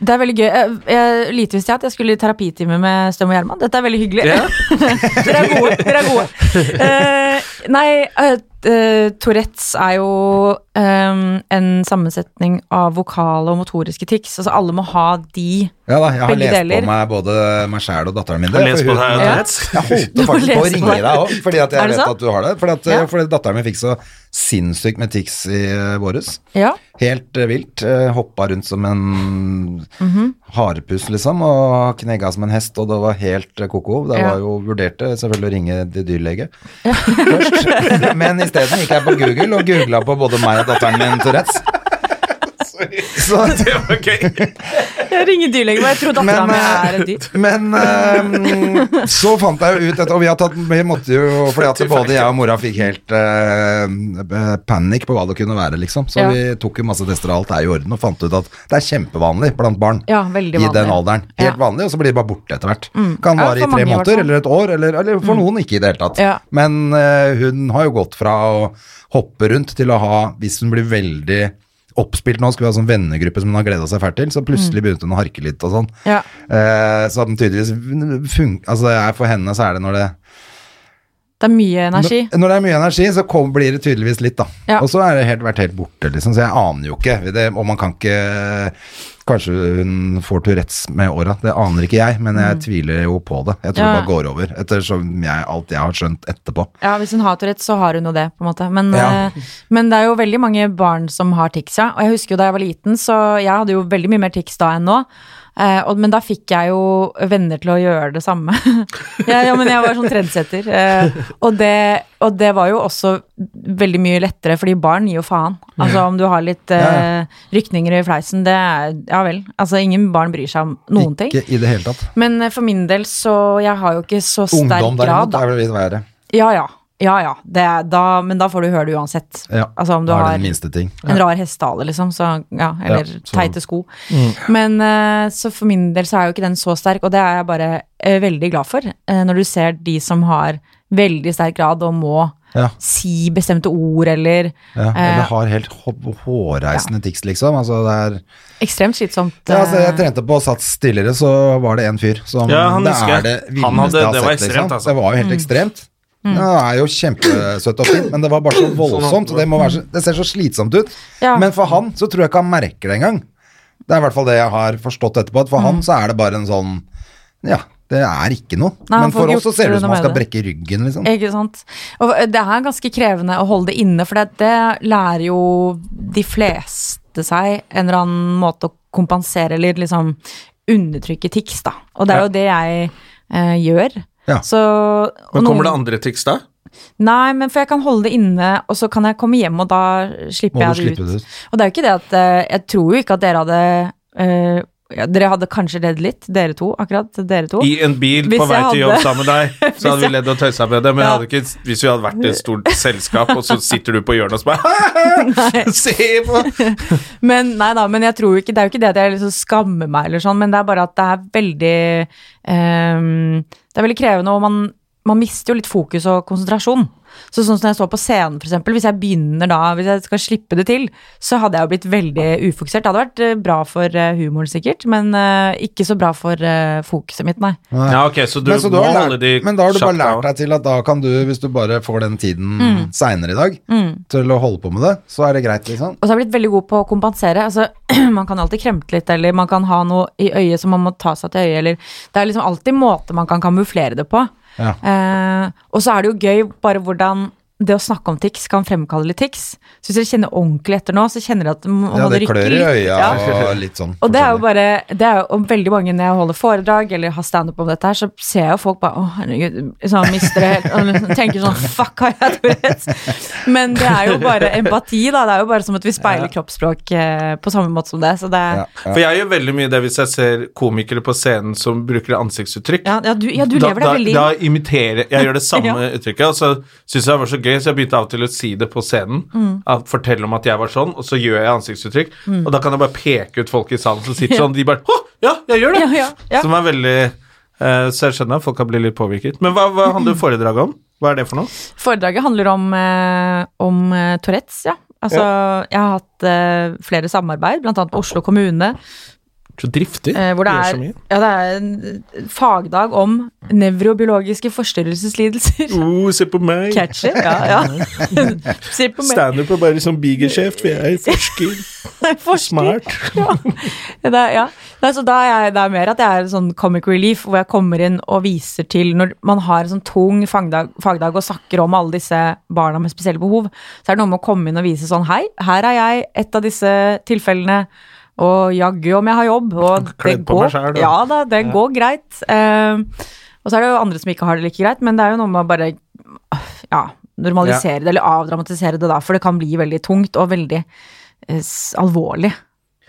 det er veldig gøy. Jeg, jeg, lite visste jeg at jeg skulle i terapitime med Støm og Gjerman. Dette er veldig hyggelig. Ja. dere er gode. Dere er gode. Eh, nei, eh, eh, Tourettes er jo eh, en sammensetning av vokale og motoriske tics. Altså alle må ha de. Ja da, jeg har Begge lest deler. på meg både meg sjæl og datteren Jeg min. har lest for på hun- deg, Ja. Tourettes. Jeg holdt Du på faktisk på må å lese ringe på det. deg òg, fordi at jeg Er det vet sant? at du har det. Fordi, at, eh, Ja. fordi datteren min fikk så sinnssykt med tics i eh, våres. Ja. Helt eh, vilt. eh, Hoppa rundt som en harepus, liksom, og knegga som en hest, og det var helt eh, ko-ko. Det Ja. var jo vurderte selvfølgelig å ringe til dyrlege først, men isteden gikk jeg på Google og googla på både meg og datteren min Tourettes. Så Sorry. Så, Det var gøy. Jeg ringer dyrlegen, men jeg tror dattera Men, mi eh, er et dyr. men eh, så fant jeg jo ut dette, og vi, har tatt, vi måtte jo Fordi at både jeg og mora fikk helt eh, panikk på hva det kunne være, liksom. Så Ja. vi tok jo masse tester, og alt er i orden, og fant ut at det er kjempevanlig blant barn. Ja, veldig I den vanlig. alderen. Ja. Mm. Helt vanlig, og så blir det bare borte etter hvert. Kan Ja, vare for i tre mange i hvert måneder fall. Mm. eller et år, eller, eller for noen ikke i det hele tatt. Ja. Men eh, hun har jo gått fra å hoppe rundt til å ha, hvis hun blir veldig oppspilt nå, skulle vi ha sånn vennegruppe som hun har gleda seg fælt til, så Mm. plutselig begynte hun å harke litt og sånn. Ja. Eh, så den tydeligvis fun- altså det er For henne så er det når det Det er mye energi. Når, når det er mye energi, så kom, blir det tydeligvis litt, da. Ja. Og så er det helt, vært helt borte, liksom. Så jeg aner jo ikke. Det, og man kan ikke Kanskje hun får Tourettes med åra. Det aner ikke jeg, men jeg tviler jo på det. Jeg tror Mm. Ja. det bare går over, ettersom jeg, alt jeg har skjønt etterpå. Ja, Hvis hun har Tourettes, så har hun jo det. på en måte men, Ja. eh, men det er jo veldig mange barn som har tics. Ja. Og jeg husker jo da jeg var liten, så jeg hadde jo veldig mye mer tics da enn nå. Eh, og, men da fikk jeg jo venner til å gjøre det samme. ja, ja, men jeg var sånn trendsetter. Eh, og, det, og det var jo også veldig mye lettere, fordi barn gir jo faen. Altså om du har litt eh, rykninger i fleisen, det er Ja vel. Altså ingen barn bryr seg om noen ting. Ikke i det hele tatt. Men eh, for min del så Jeg har jo ikke så sterk Ungdom grad. derimot da. er vel litt verre. Ja, ja. Ja, ja. Det, er- da, men da får du høre det uansett. Ja. Altså om du Da er har det den minste ting. en rar hestehale, liksom. Så, ja, eller Ja, så- Mm. teite sko. Men eh, så for min del så er jo ikke den så sterk, og det er jeg bare eh, veldig glad for. Eh, når du ser de som har veldig sterk grad og må Ja. si bestemte ord, eller Ja, eh, eller har helt hå- hårreisende tics, liksom. Altså, det er ekstremt slitsomt. Ja, altså, jeg eh, trente på Sats tidligere, så var det en fyr som Ja, han Det husker jeg. er Han det hadde- villeste jeg har det sett. var ekstremt, liksom. altså. Det var Mm. jo helt ekstremt. Ja, han er jo kjempesøt og fin, men det var bare så voldsomt. og Det, må være så, det ser så slitsomt ut. Ja. Men for han så tror jeg ikke han merker det engang. Det er i hvert fall det jeg har forstått etterpå. At for Mm. han så er det bare en sånn Ja, det er ikke noe. Nei, han men for får ikke oss så gjort ser det ut som noe han skal med det. Eh. brekke ryggen, liksom. Ikke sant. Og det er ganske krevende å holde det inne, for det, det lærer jo de fleste seg en eller annen måte å kompensere eller liksom undertrykke tics, da. Og det er jo det jeg eh, gjør. Ja. Så og Men kommer det noen- andre tics da? Nei, men for jeg kan holde det inne, og så kan jeg komme hjem, og da slipper Må du jeg det slippe ut. det ut. Og det er jo ikke det at eh, Jeg tror jo ikke at dere hadde eh, ja, Dere hadde kanskje ledd litt, dere to, akkurat. Dere to. I en bil Hvis på vei jeg til jobb hadde- sammen med deg, så hadde vi jeg- ledd og tøysa med det. Men jeg Ja. hadde ikke, hvis vi hadde vært i et stort selskap, og så sitter du på hjørnet og så bare Se på Men nei da, men jeg tror ikke, det er jo ikke det at jeg liksom skammer meg eller sånn, men det er bare at det er veldig ehm, Det er veldig krevende, og man, man mister jo litt fokus og konsentrasjon. Så sånn som når jeg står på scenen, for eksempel, hvis jeg begynner da, hvis jeg skal slippe det til, så hadde jeg jo blitt veldig ufokusert. Det hadde vært eh, bra for eh, humoren sikkert, men eh, ikke så bra for eh, fokuset mitt, nei. Ja, ok, så du, men, så du må har holde lært, de men da har du bare sjakk lært da. deg til at da kan du, hvis du bare får den tiden Mm. seinere i dag til å holde på med det, så er det greit, liksom. Og så har jeg blitt veldig god på å kompensere. Altså, man kan alltid kremte litt, eller man kan ha noe i øyet som man må ta seg til øyet, eller Det er liksom alltid måter man kan kamuflere det på. Ja. Eh, og så er det jo gøy bare hvordan det å snakke om tics kan fremkalle litt tics. Så hvis dere kjenner ordentlig etter nå, så kjenner dere at man Ja, det rykker klør i litt. øya Ja. og litt sånn. Og det er jo forskjellig. bare det er jo, og veldig mange når jeg holder foredrag eller har standup om dette her, så ser jeg jo folk bare Å, herregud. Sånn mister det helt og liksom Tenker sånn Fuck, har jeg Tourettes? Men det er jo bare empati, da. Det er jo bare som at vi speiler kroppsspråk eh, på samme måte som det. Så det Ja, Ja, ja. For jeg gjør veldig mye det hvis jeg ser komikere på scenen som bruker ansiktsuttrykk. ja, du, ja du lever da, deg veldig da, inn. da imiterer Jeg gjør det samme Ja. uttrykket, og så syns jeg det var så gøy, så jeg begynte av og til å si det på scenen. Mm. At, fortelle om at jeg var sånn, og så gjør jeg ansiktsuttrykk. Og da kan jeg bare peke ut folk i salen som sitter sånn, de bare Å, ja, jeg gjør det! Ja, ja, ja. Som er veldig eh, Så jeg skjønner at folk kan bli litt påvirket. Men hva, hva handler foredraget om? Hva er det for noe? Foredraget handler om, eh, om eh, Tourettes, ja. Altså, jeg har hatt eh, flere samarbeid, blant annet med Oslo kommune. Så driftig. Eh, hvor det Gjør så er, mye. ja, det er en fagdag om nevrobiologiske forstyrrelseslidelser. Oh, se på meg. Catchy, ja. ja. Se på meg. Standup er bare sånn bigerskjeft, for jeg er forsker. Forsker. Smart. Ja. Det er, ja. Nei, så da er jeg, det er mer at jeg er sånn comic relief, hvor jeg kommer inn og viser til Når man har en sånn tung fagdag, fagdag og snakker om alle disse barna med spesielle behov, så er det noe med å komme inn og vise sånn Hei, her er jeg, et av disse tilfellene. Og jaggu om jeg har jobb. Og det Kledd på meg går, selv, da. ja, da, det går greit. Eh, og så er det jo andre som ikke har det like greit, men det er jo noe med å bare øh, ja, normalisere det, eller avdramatisere det da, for det kan bli veldig tungt og veldig eh, s- alvorlig.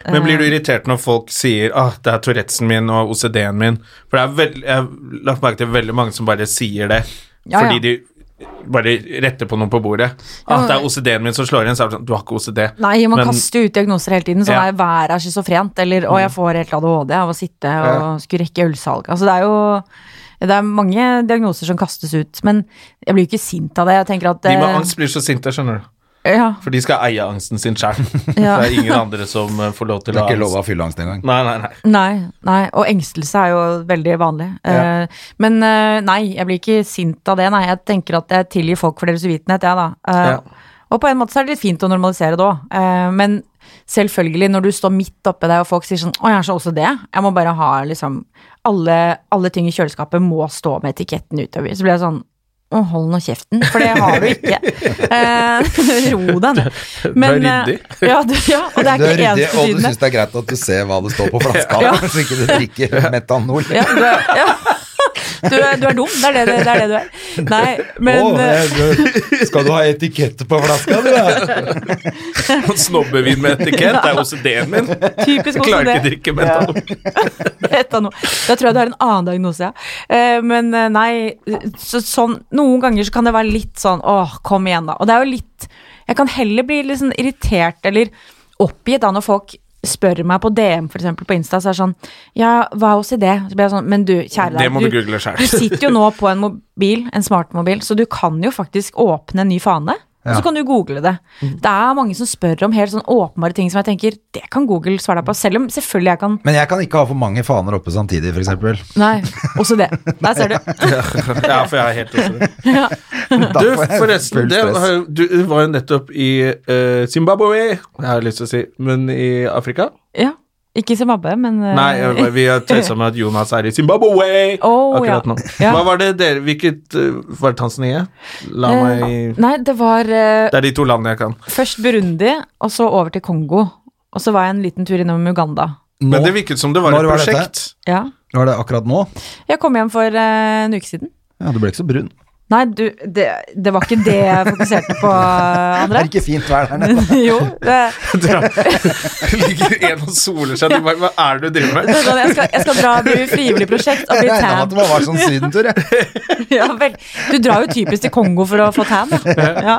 Men blir du irritert når folk sier ah, det er Tourettesen min og OCD-en min? For det er veld, jeg har lagt merke til veldig mange som bare sier det Ja, ja. fordi de bare retter på noe på bordet. Ah, det er OCD-en min som slår igjen, så er det sånn Du har ikke OCD. Nei, man Men- kaster ut diagnoser hele tiden. Sånn Ja. er hver er schizofrent, eller å, jeg får helt ADHD av å sitte og skulle rekke ølsalg. Altså, det er jo det er mange diagnoser som kastes ut, men jeg blir jo ikke sint av det. Jeg tenker at De med eh, angst blir så sinte, skjønner du. Ja, For de skal eie angsten sin sjøl. Ja. Det er ingen andre som eh, får lov til Det er å ha ikke lov angst. å fylle angst engang. Nei, nei, nei. nei, nei, og engstelse er jo veldig vanlig. Eh, men eh, nei, jeg blir ikke sint av det. Nei, jeg tenker at jeg tilgir folk for deres uvitenhet, jeg, da. Eh, Ja. Og på en måte så er det litt fint å normalisere det òg, men selvfølgelig, når du står midt oppe der og folk sier sånn 'Å, jeg er så også det', jeg må bare ha liksom Alle, alle ting i kjøleskapet må stå med etiketten utover. Så blir jeg sånn å, hold nå kjeften, for det har du ikke. Eh, ro deg ned. Men, eh, ryddig. Ja, du, ja, og det Du er er ikke ryddig, og du enestående. syns det er greit at du ser hva det står på flaska, så ikke du drikker metanol. Ja, du, er, ja. Du, er, du er dum, det er det, det er det du er. Nei, men Å, eh, jeg- skal du ha etikette på flaska, du? da? Snobbevin med etikett, det er OCD-en min. typisk Jeg også klarer det. ikke å drikke mental. Etanol. Da tror jeg du har en annen diagnose, ja. Eh, men eh, nei, så, sånn, noen ganger så kan det være litt sånn åh, kom igjen da. Og det er jo litt Jeg kan heller bli litt sånn irritert eller oppgitt da når folk spør meg på DM, for eksempel på Insta, så er det sånn Ja, hva er OCD? Så blir jeg sånn Men du, kjære Det deg. må du google selv. Du sitter jo nå på en mobil, en smartmobil, så du kan jo faktisk åpne en ny fane. Og så kan du google det. Mm. Det er mange som spør om helt sånn åpenbare ting som jeg tenker, det kan Google svare deg på. Selv om selvfølgelig jeg kan Men jeg kan ikke ha for mange faner oppe samtidig, f.eks. Nei, også det. Der ser du. Ja, for jeg er helt OCD. Da Du, får jeg forresten, full det stress. var, jo- du var jo nettopp i eh, Zimbabwe, jeg har lyst til å si, men i Afrika? Ja. Ikke Zimbabwe, men eh, Nei, jeg var- vi har tøysa med at Jonas er i Zimbabwe Å, akkurat Oh, ja. nå. Ja. Hva var det dere Hvilket eh, Var det Tanzania? La eh, meg Nei, det var eh, Det er de to landene jeg kan. først Burundi, og så over til Kongo. Og så var jeg en liten tur innom Uganda. Men det virket som det var Når et var dette? prosjekt. Ja. Var det akkurat nå? Jeg kom hjem for eh, en uke siden. Ja, du ble ikke så brun. Nei, du, det, det var ikke det jeg fokuserte på, Det André. er ikke fint vær der nede. jo, det, Ligger en og soler seg. Du bare, Hva er det du driver det med? er sånn, jeg, skal, jeg skal dra til frivillig prosjekt og Jeg bli regna med at tan. det bare var sånn sydentur, jeg. Ja, vel. Du drar jo typisk til Kongo for å få tan. Da. Ja.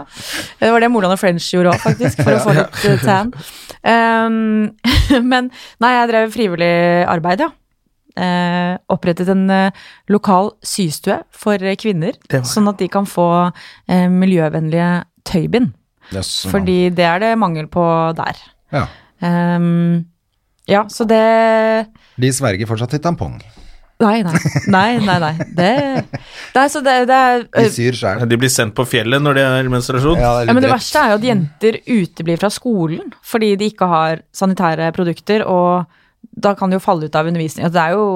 Det var det Moland og French gjorde òg, faktisk, for å få litt eh, tan. Um, men nei, jeg drev frivillig arbeid, ja. Eh, opprettet en eh, lokal systue for eh, kvinner, sånn at de kan få eh, miljøvennlige tøybind. Sånn. Fordi det er det mangel på der. Ja. Um, ja, så det De sverger fortsatt til tampong. Nei, nei. Nei, nei, nei. Det, nei så det, det er De syr sjæl. De blir sendt på fjellet når det er menstruasjon. Eh, Ja, men det verste er jo at jenter uteblir fra skolen fordi de ikke har sanitære produkter, og da kan det jo falle ut av undervisning. Altså, Det er jo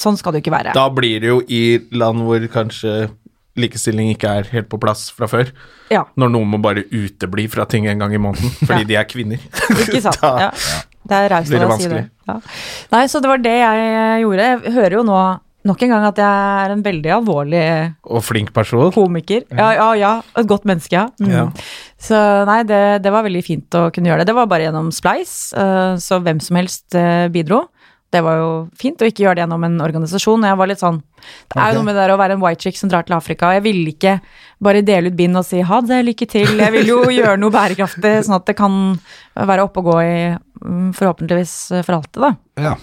Sånn skal det jo ikke være. Da blir det jo i land hvor kanskje likestilling ikke er helt på plass fra før. Ja, Når noen må bare utebli fra ting en gang i måneden fordi Ja. de er kvinner. ikke sant? Da- Ja. Det er raust Blir av det deg å si det. Ja. Nei, så det var det jeg eh, gjorde. Jeg hører jo nå nok en gang at jeg er en veldig alvorlig Og flink person. komiker. Ja, ja, ja. Et godt menneske, ja. Mm. Ja. Så nei, det, det var veldig fint å kunne gjøre det. Det var bare gjennom Splice, eh, så hvem som helst eh, bidro. Det var jo fint å ikke gjøre det gjennom en organisasjon. og Jeg var litt sånn, Det er jo noe med det der å være en white chick som drar til Afrika. og Jeg ville ikke bare dele ut bind og si ha det, lykke til. Jeg ville jo gjøre noe bærekraftig, sånn at det kan være oppe og gå i mm, forhåpentligvis eh, for alltid, da. Ja.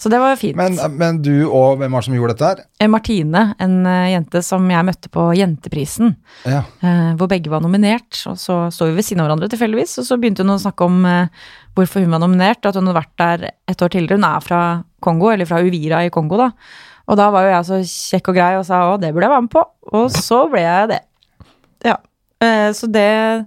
Så det var fint. Men, men du og hvem var det som gjorde dette her? Eh, Martine, en eh, jente som jeg møtte på Jenteprisen, Ja. eh, hvor begge var nominert. Og så sto vi ved siden av hverandre tilfeldigvis, og så begynte hun å snakke om eh, hvorfor hun var nominert, og at hun hadde vært der et år tidligere. Hun er fra Kongo, eller fra Uvira i Kongo, da. Og da var jo jeg så kjekk og grei og sa å, det burde jeg være med på. Og så ble jeg det. Ja. Eh, Så det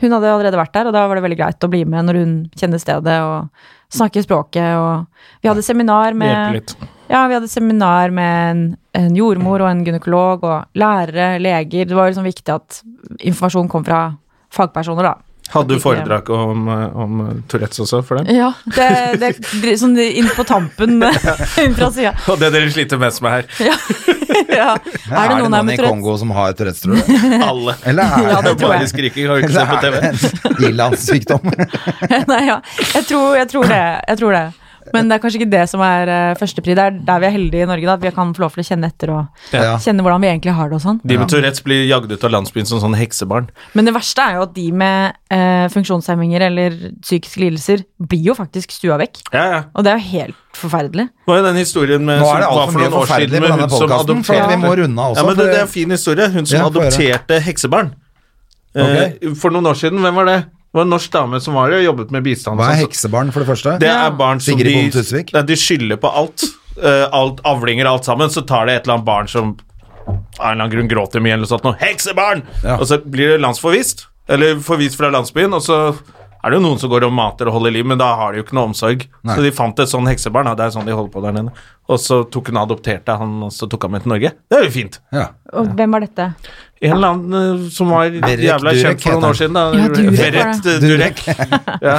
Hun hadde allerede vært der, og da var det veldig greit å bli med når hun kjenner stedet og snakker språket og Vi hadde seminar Hjelper med litt. ja, vi hadde seminar med en, en jordmor og en gynekolog og lærere, leger. Det var liksom viktig at informasjon kom fra fagpersoner, da. Hadde du Ikke- foredrag om, eh, om Tourettes også for dem? Ja, det, det er sånn inn på tampen fra sida. Og det dere sliter mest med her. ja. Er det her noen, med i Tourettes? Kongo som har Tourettes, tror du? Alle. Eller er Ja, det tror Bare jeg. skriking, har jo ikke sett på Eller TV. er det en ilandssykdom? Nei, ja. Jeg tror, jeg tror det. Jeg tror det. Men det er kanskje ikke det som er eh, førstepri. Det er der vi er heldige i Norge, da. at Vi kan få lov til å kjenne etter og Ja. kjenne hvordan vi egentlig har det og sånn. De med Tourettes blir jagd ut av landsbyen som sånne heksebarn. Men det verste er jo at de med eh, funksjonshemminger eller psykiske lidelser blir jo faktisk stua vekk. Ja, ja. Og det er jo helt forferdelig. Det var jo den historien med, Nå som er det var altfor for mye noen år siden forferdelig med på hun denne som podkasten, for adopterte vi må runde av også. Ja, men det, for- det er en fin historie. Hun som Ja, få høre. adopterte heksebarn. Eh, for noen år siden, hvem var det? Det var en norsk dame som var det, og jobbet med bistand. Hva og er sånn. heksebarn, for det første? Det er barn som Sigrid de, Bonde Tusvik? Nei, de skylder på alt. Eh, alt Avlinger og alt sammen. Så tar det et eller annet barn som av en eller annen grunn gråter mye, eller noe sånt. noe, 'Heksebarn!' Ja. Og så blir det landsforvist. Eller forvist fra landsbyen, og så er det jo noen som går og mater og holder liv, men da har de jo ikke noe omsorg. Nei. Så de fant et sånn heksebarn, ja, det er sånn de holder på der nede. Og så tok hun og adopterte han, og så tok han med til Norge. Det er jo fint. Ja. Og hvem var dette? En eller annen eh, som var jævla kjent Durek for noen heter år siden, da. Ja, Durek var Verrett eh, Durek. ja.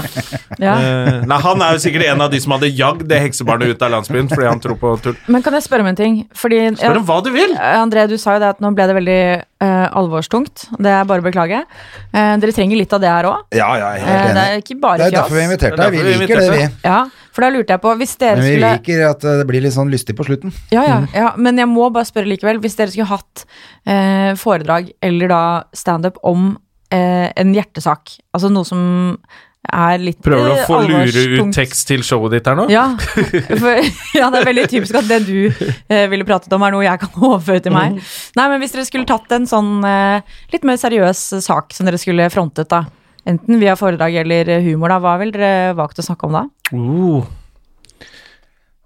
Ja. Eh, nei, Han er jo sikkert en av de som hadde jagd det heksebarnet ut av landsbyen fordi han tror på tull. Men kan jeg spørre om en ting? Fordi, Spør om ja, hva du vil! André, du sa jo det at nå ble det veldig eh, alvorstungt. Det er bare å beklage. Eh, dere trenger litt av det her òg. ja, ja, jeg er Eh, helt det enig. er ikke bare Det er jo derfor vi fjas. inviterte Det er deg. Vi derfor vi liker det, vi. inviterte Ja, for da lurte jeg på Hvis dere Men vi skulle liker Mm. at eh, det blir litt sånn lystig på slutten. Ja, ja, ja, men jeg må bare spørre likevel. Hvis dere skulle hatt eh, foredrag eller da standup om eh, en hjertesak, altså noe som er litt Prøver du å eh, få lure ut alvorstungt. tekst til showet ditt her nå? Ja, for, ja, det er veldig typisk at det du eh, ville pratet om, er noe jeg kan overføre til meg. Nei, men hvis dere skulle tatt en sånn eh, litt mer seriøs eh, sak som dere skulle frontet, da. Enten via foredrag eller eh, humor, da. Hva ville dere valgt å snakke om da? Uh,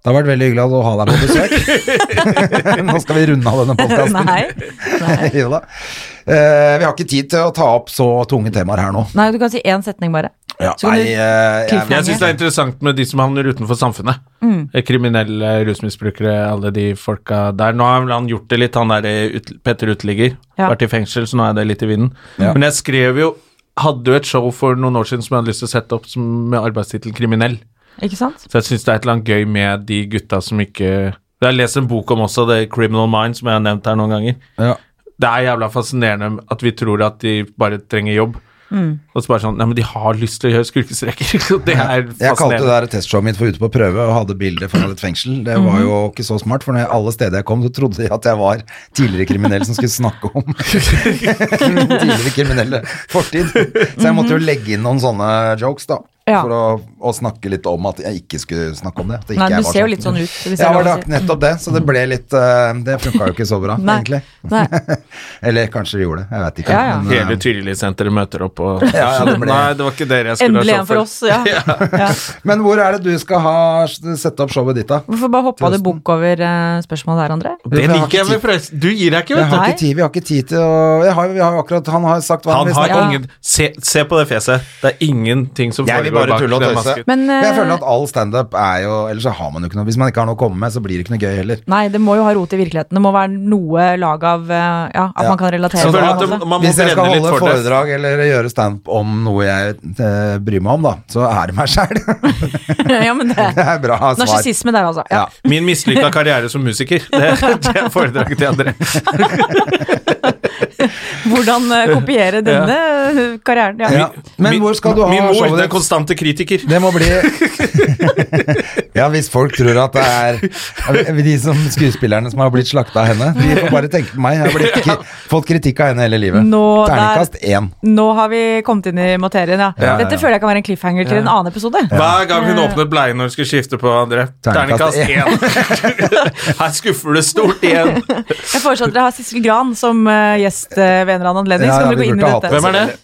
Det har vært veldig hyggelig å ha deg på besøk. Nå skal vi runde av denne podkasten. Nei. Nei. jo da. Eh, vi har ikke tid til å ta opp så tunge temaer her nå. Nei, du kan si én setning, bare. Ja, Så kan nei, du- eh, jeg- jeg syns det er interessant med de som havner utenfor samfunnet. Mm. Eh, Kriminelle, rusmisbrukere, alle de folka der. Nå har vel han gjort det litt, han der eh, ut, Petter Uteligger. Ja. Vært i fengsel, så nå er det litt i vinden. Ja. Men jeg skrev jo Hadde jo et show for noen år siden som jeg hadde lyst til å sette opp som, med arbeidstittel 'Kriminell'. Ikke sant? Så jeg syns det er et eller annet gøy med de gutta som ikke Jeg har lest en bok om også, det er Criminal Minds, som jeg har nevnt her noen ganger. ja. Det er jævla fascinerende at vi tror at de bare trenger jobb. Mm. Og så bare sånn Nei, men de har lyst til å gjøre skurkestreker. Så det er Jeg kalte det fascinerende. der testshowet mitt for Ute på prøve og hadde bilder fra et fengsel. Det Mhm. var jo ikke så smart, for når jeg, alle steder jeg kom, så trodde de at jeg var tidligere kriminell som skulle snakke om min tidligere kriminelle fortid. Så jeg måtte jo legge inn noen sånne jokes, da. Ja. For å, å snakke litt om at jeg ikke skulle snakke om det. at ikke Nei, jeg du var ser jo sånn. litt sånn ut, hvis Ja, var jeg lov å det si. nettopp det, så det ble litt eh, Det funka jo ikke så bra, Nei. egentlig. Nei. Eller kanskje det gjorde det, jeg vet ikke. Ja, ja. men, eh, Hele Tyrili-senteret møter opp og Ja, ja, det ble- Nei, det var ikke dere jeg skulle Endelig ha en for show oss, ja. ja. men hvor er det du skal ha sette opp showet ditt, da? Hvorfor bare hoppa du bukk over eh, spørsmålet her, André? Det liker jeg med press. Du gir deg ikke, Jeg vet har du. ikke tid, vi har ikke tid til å jeg har, Vi har jo akkurat Han har sagt hva han, Han vil har snakke om. ingen se, se på det fjeset. Det er ingenting som Jeg vil foregår bare bak tulle og den tøyse. masken. Men, eh, jeg føler at all standup er jo Ellers så har man jo ikke noe Hvis man ikke har noe å komme med, så blir det ikke noe gøy heller. Nei, det må jo ha rot i virkeligheten. Det må være noe lag av eh, Ja, at Ja. man kan relatere Så til føler jeg det. at det- man må Hvis jeg skal brenne litt holde for det. foredrag eller gjøre standup om noe jeg eh, bryr meg om, da, så er det meg sjæl. ja, men det, det er bra svar. narsissisme der, altså. Ja. Ja. Min mislykka karriere som musiker. Det, det er foredraget til André. Hvordan eh, kopiere denne eh, karrieren. Ja. Ja. Men Min- hvor skal du ha Min mor, showet den ditt? konstante kritiker. Det må bli Ja, hvis folk tror at det er de som skuespillerne som har blitt slakta av henne. De får bare tenke på meg. Jeg har blitt, kri- fått kritikk av henne hele livet. Nå, der- Terningkast én. Nå har vi kommet inn i materien, ja. Ja, ja, ja. Dette føler jeg kan være en cliffhanger til en annen episode. Hver gang hun åpnet bleien når hun skulle skifte på André. Terningkast Terningkast én. Her skuffer du stort igjen. Jeg foreslår at dere har Sissel Gran som eh, gjest eh, ved en eller annen anledning. Ja, så ja, kan dere vi gå inn i burde ha dette. hatt Hvem er det?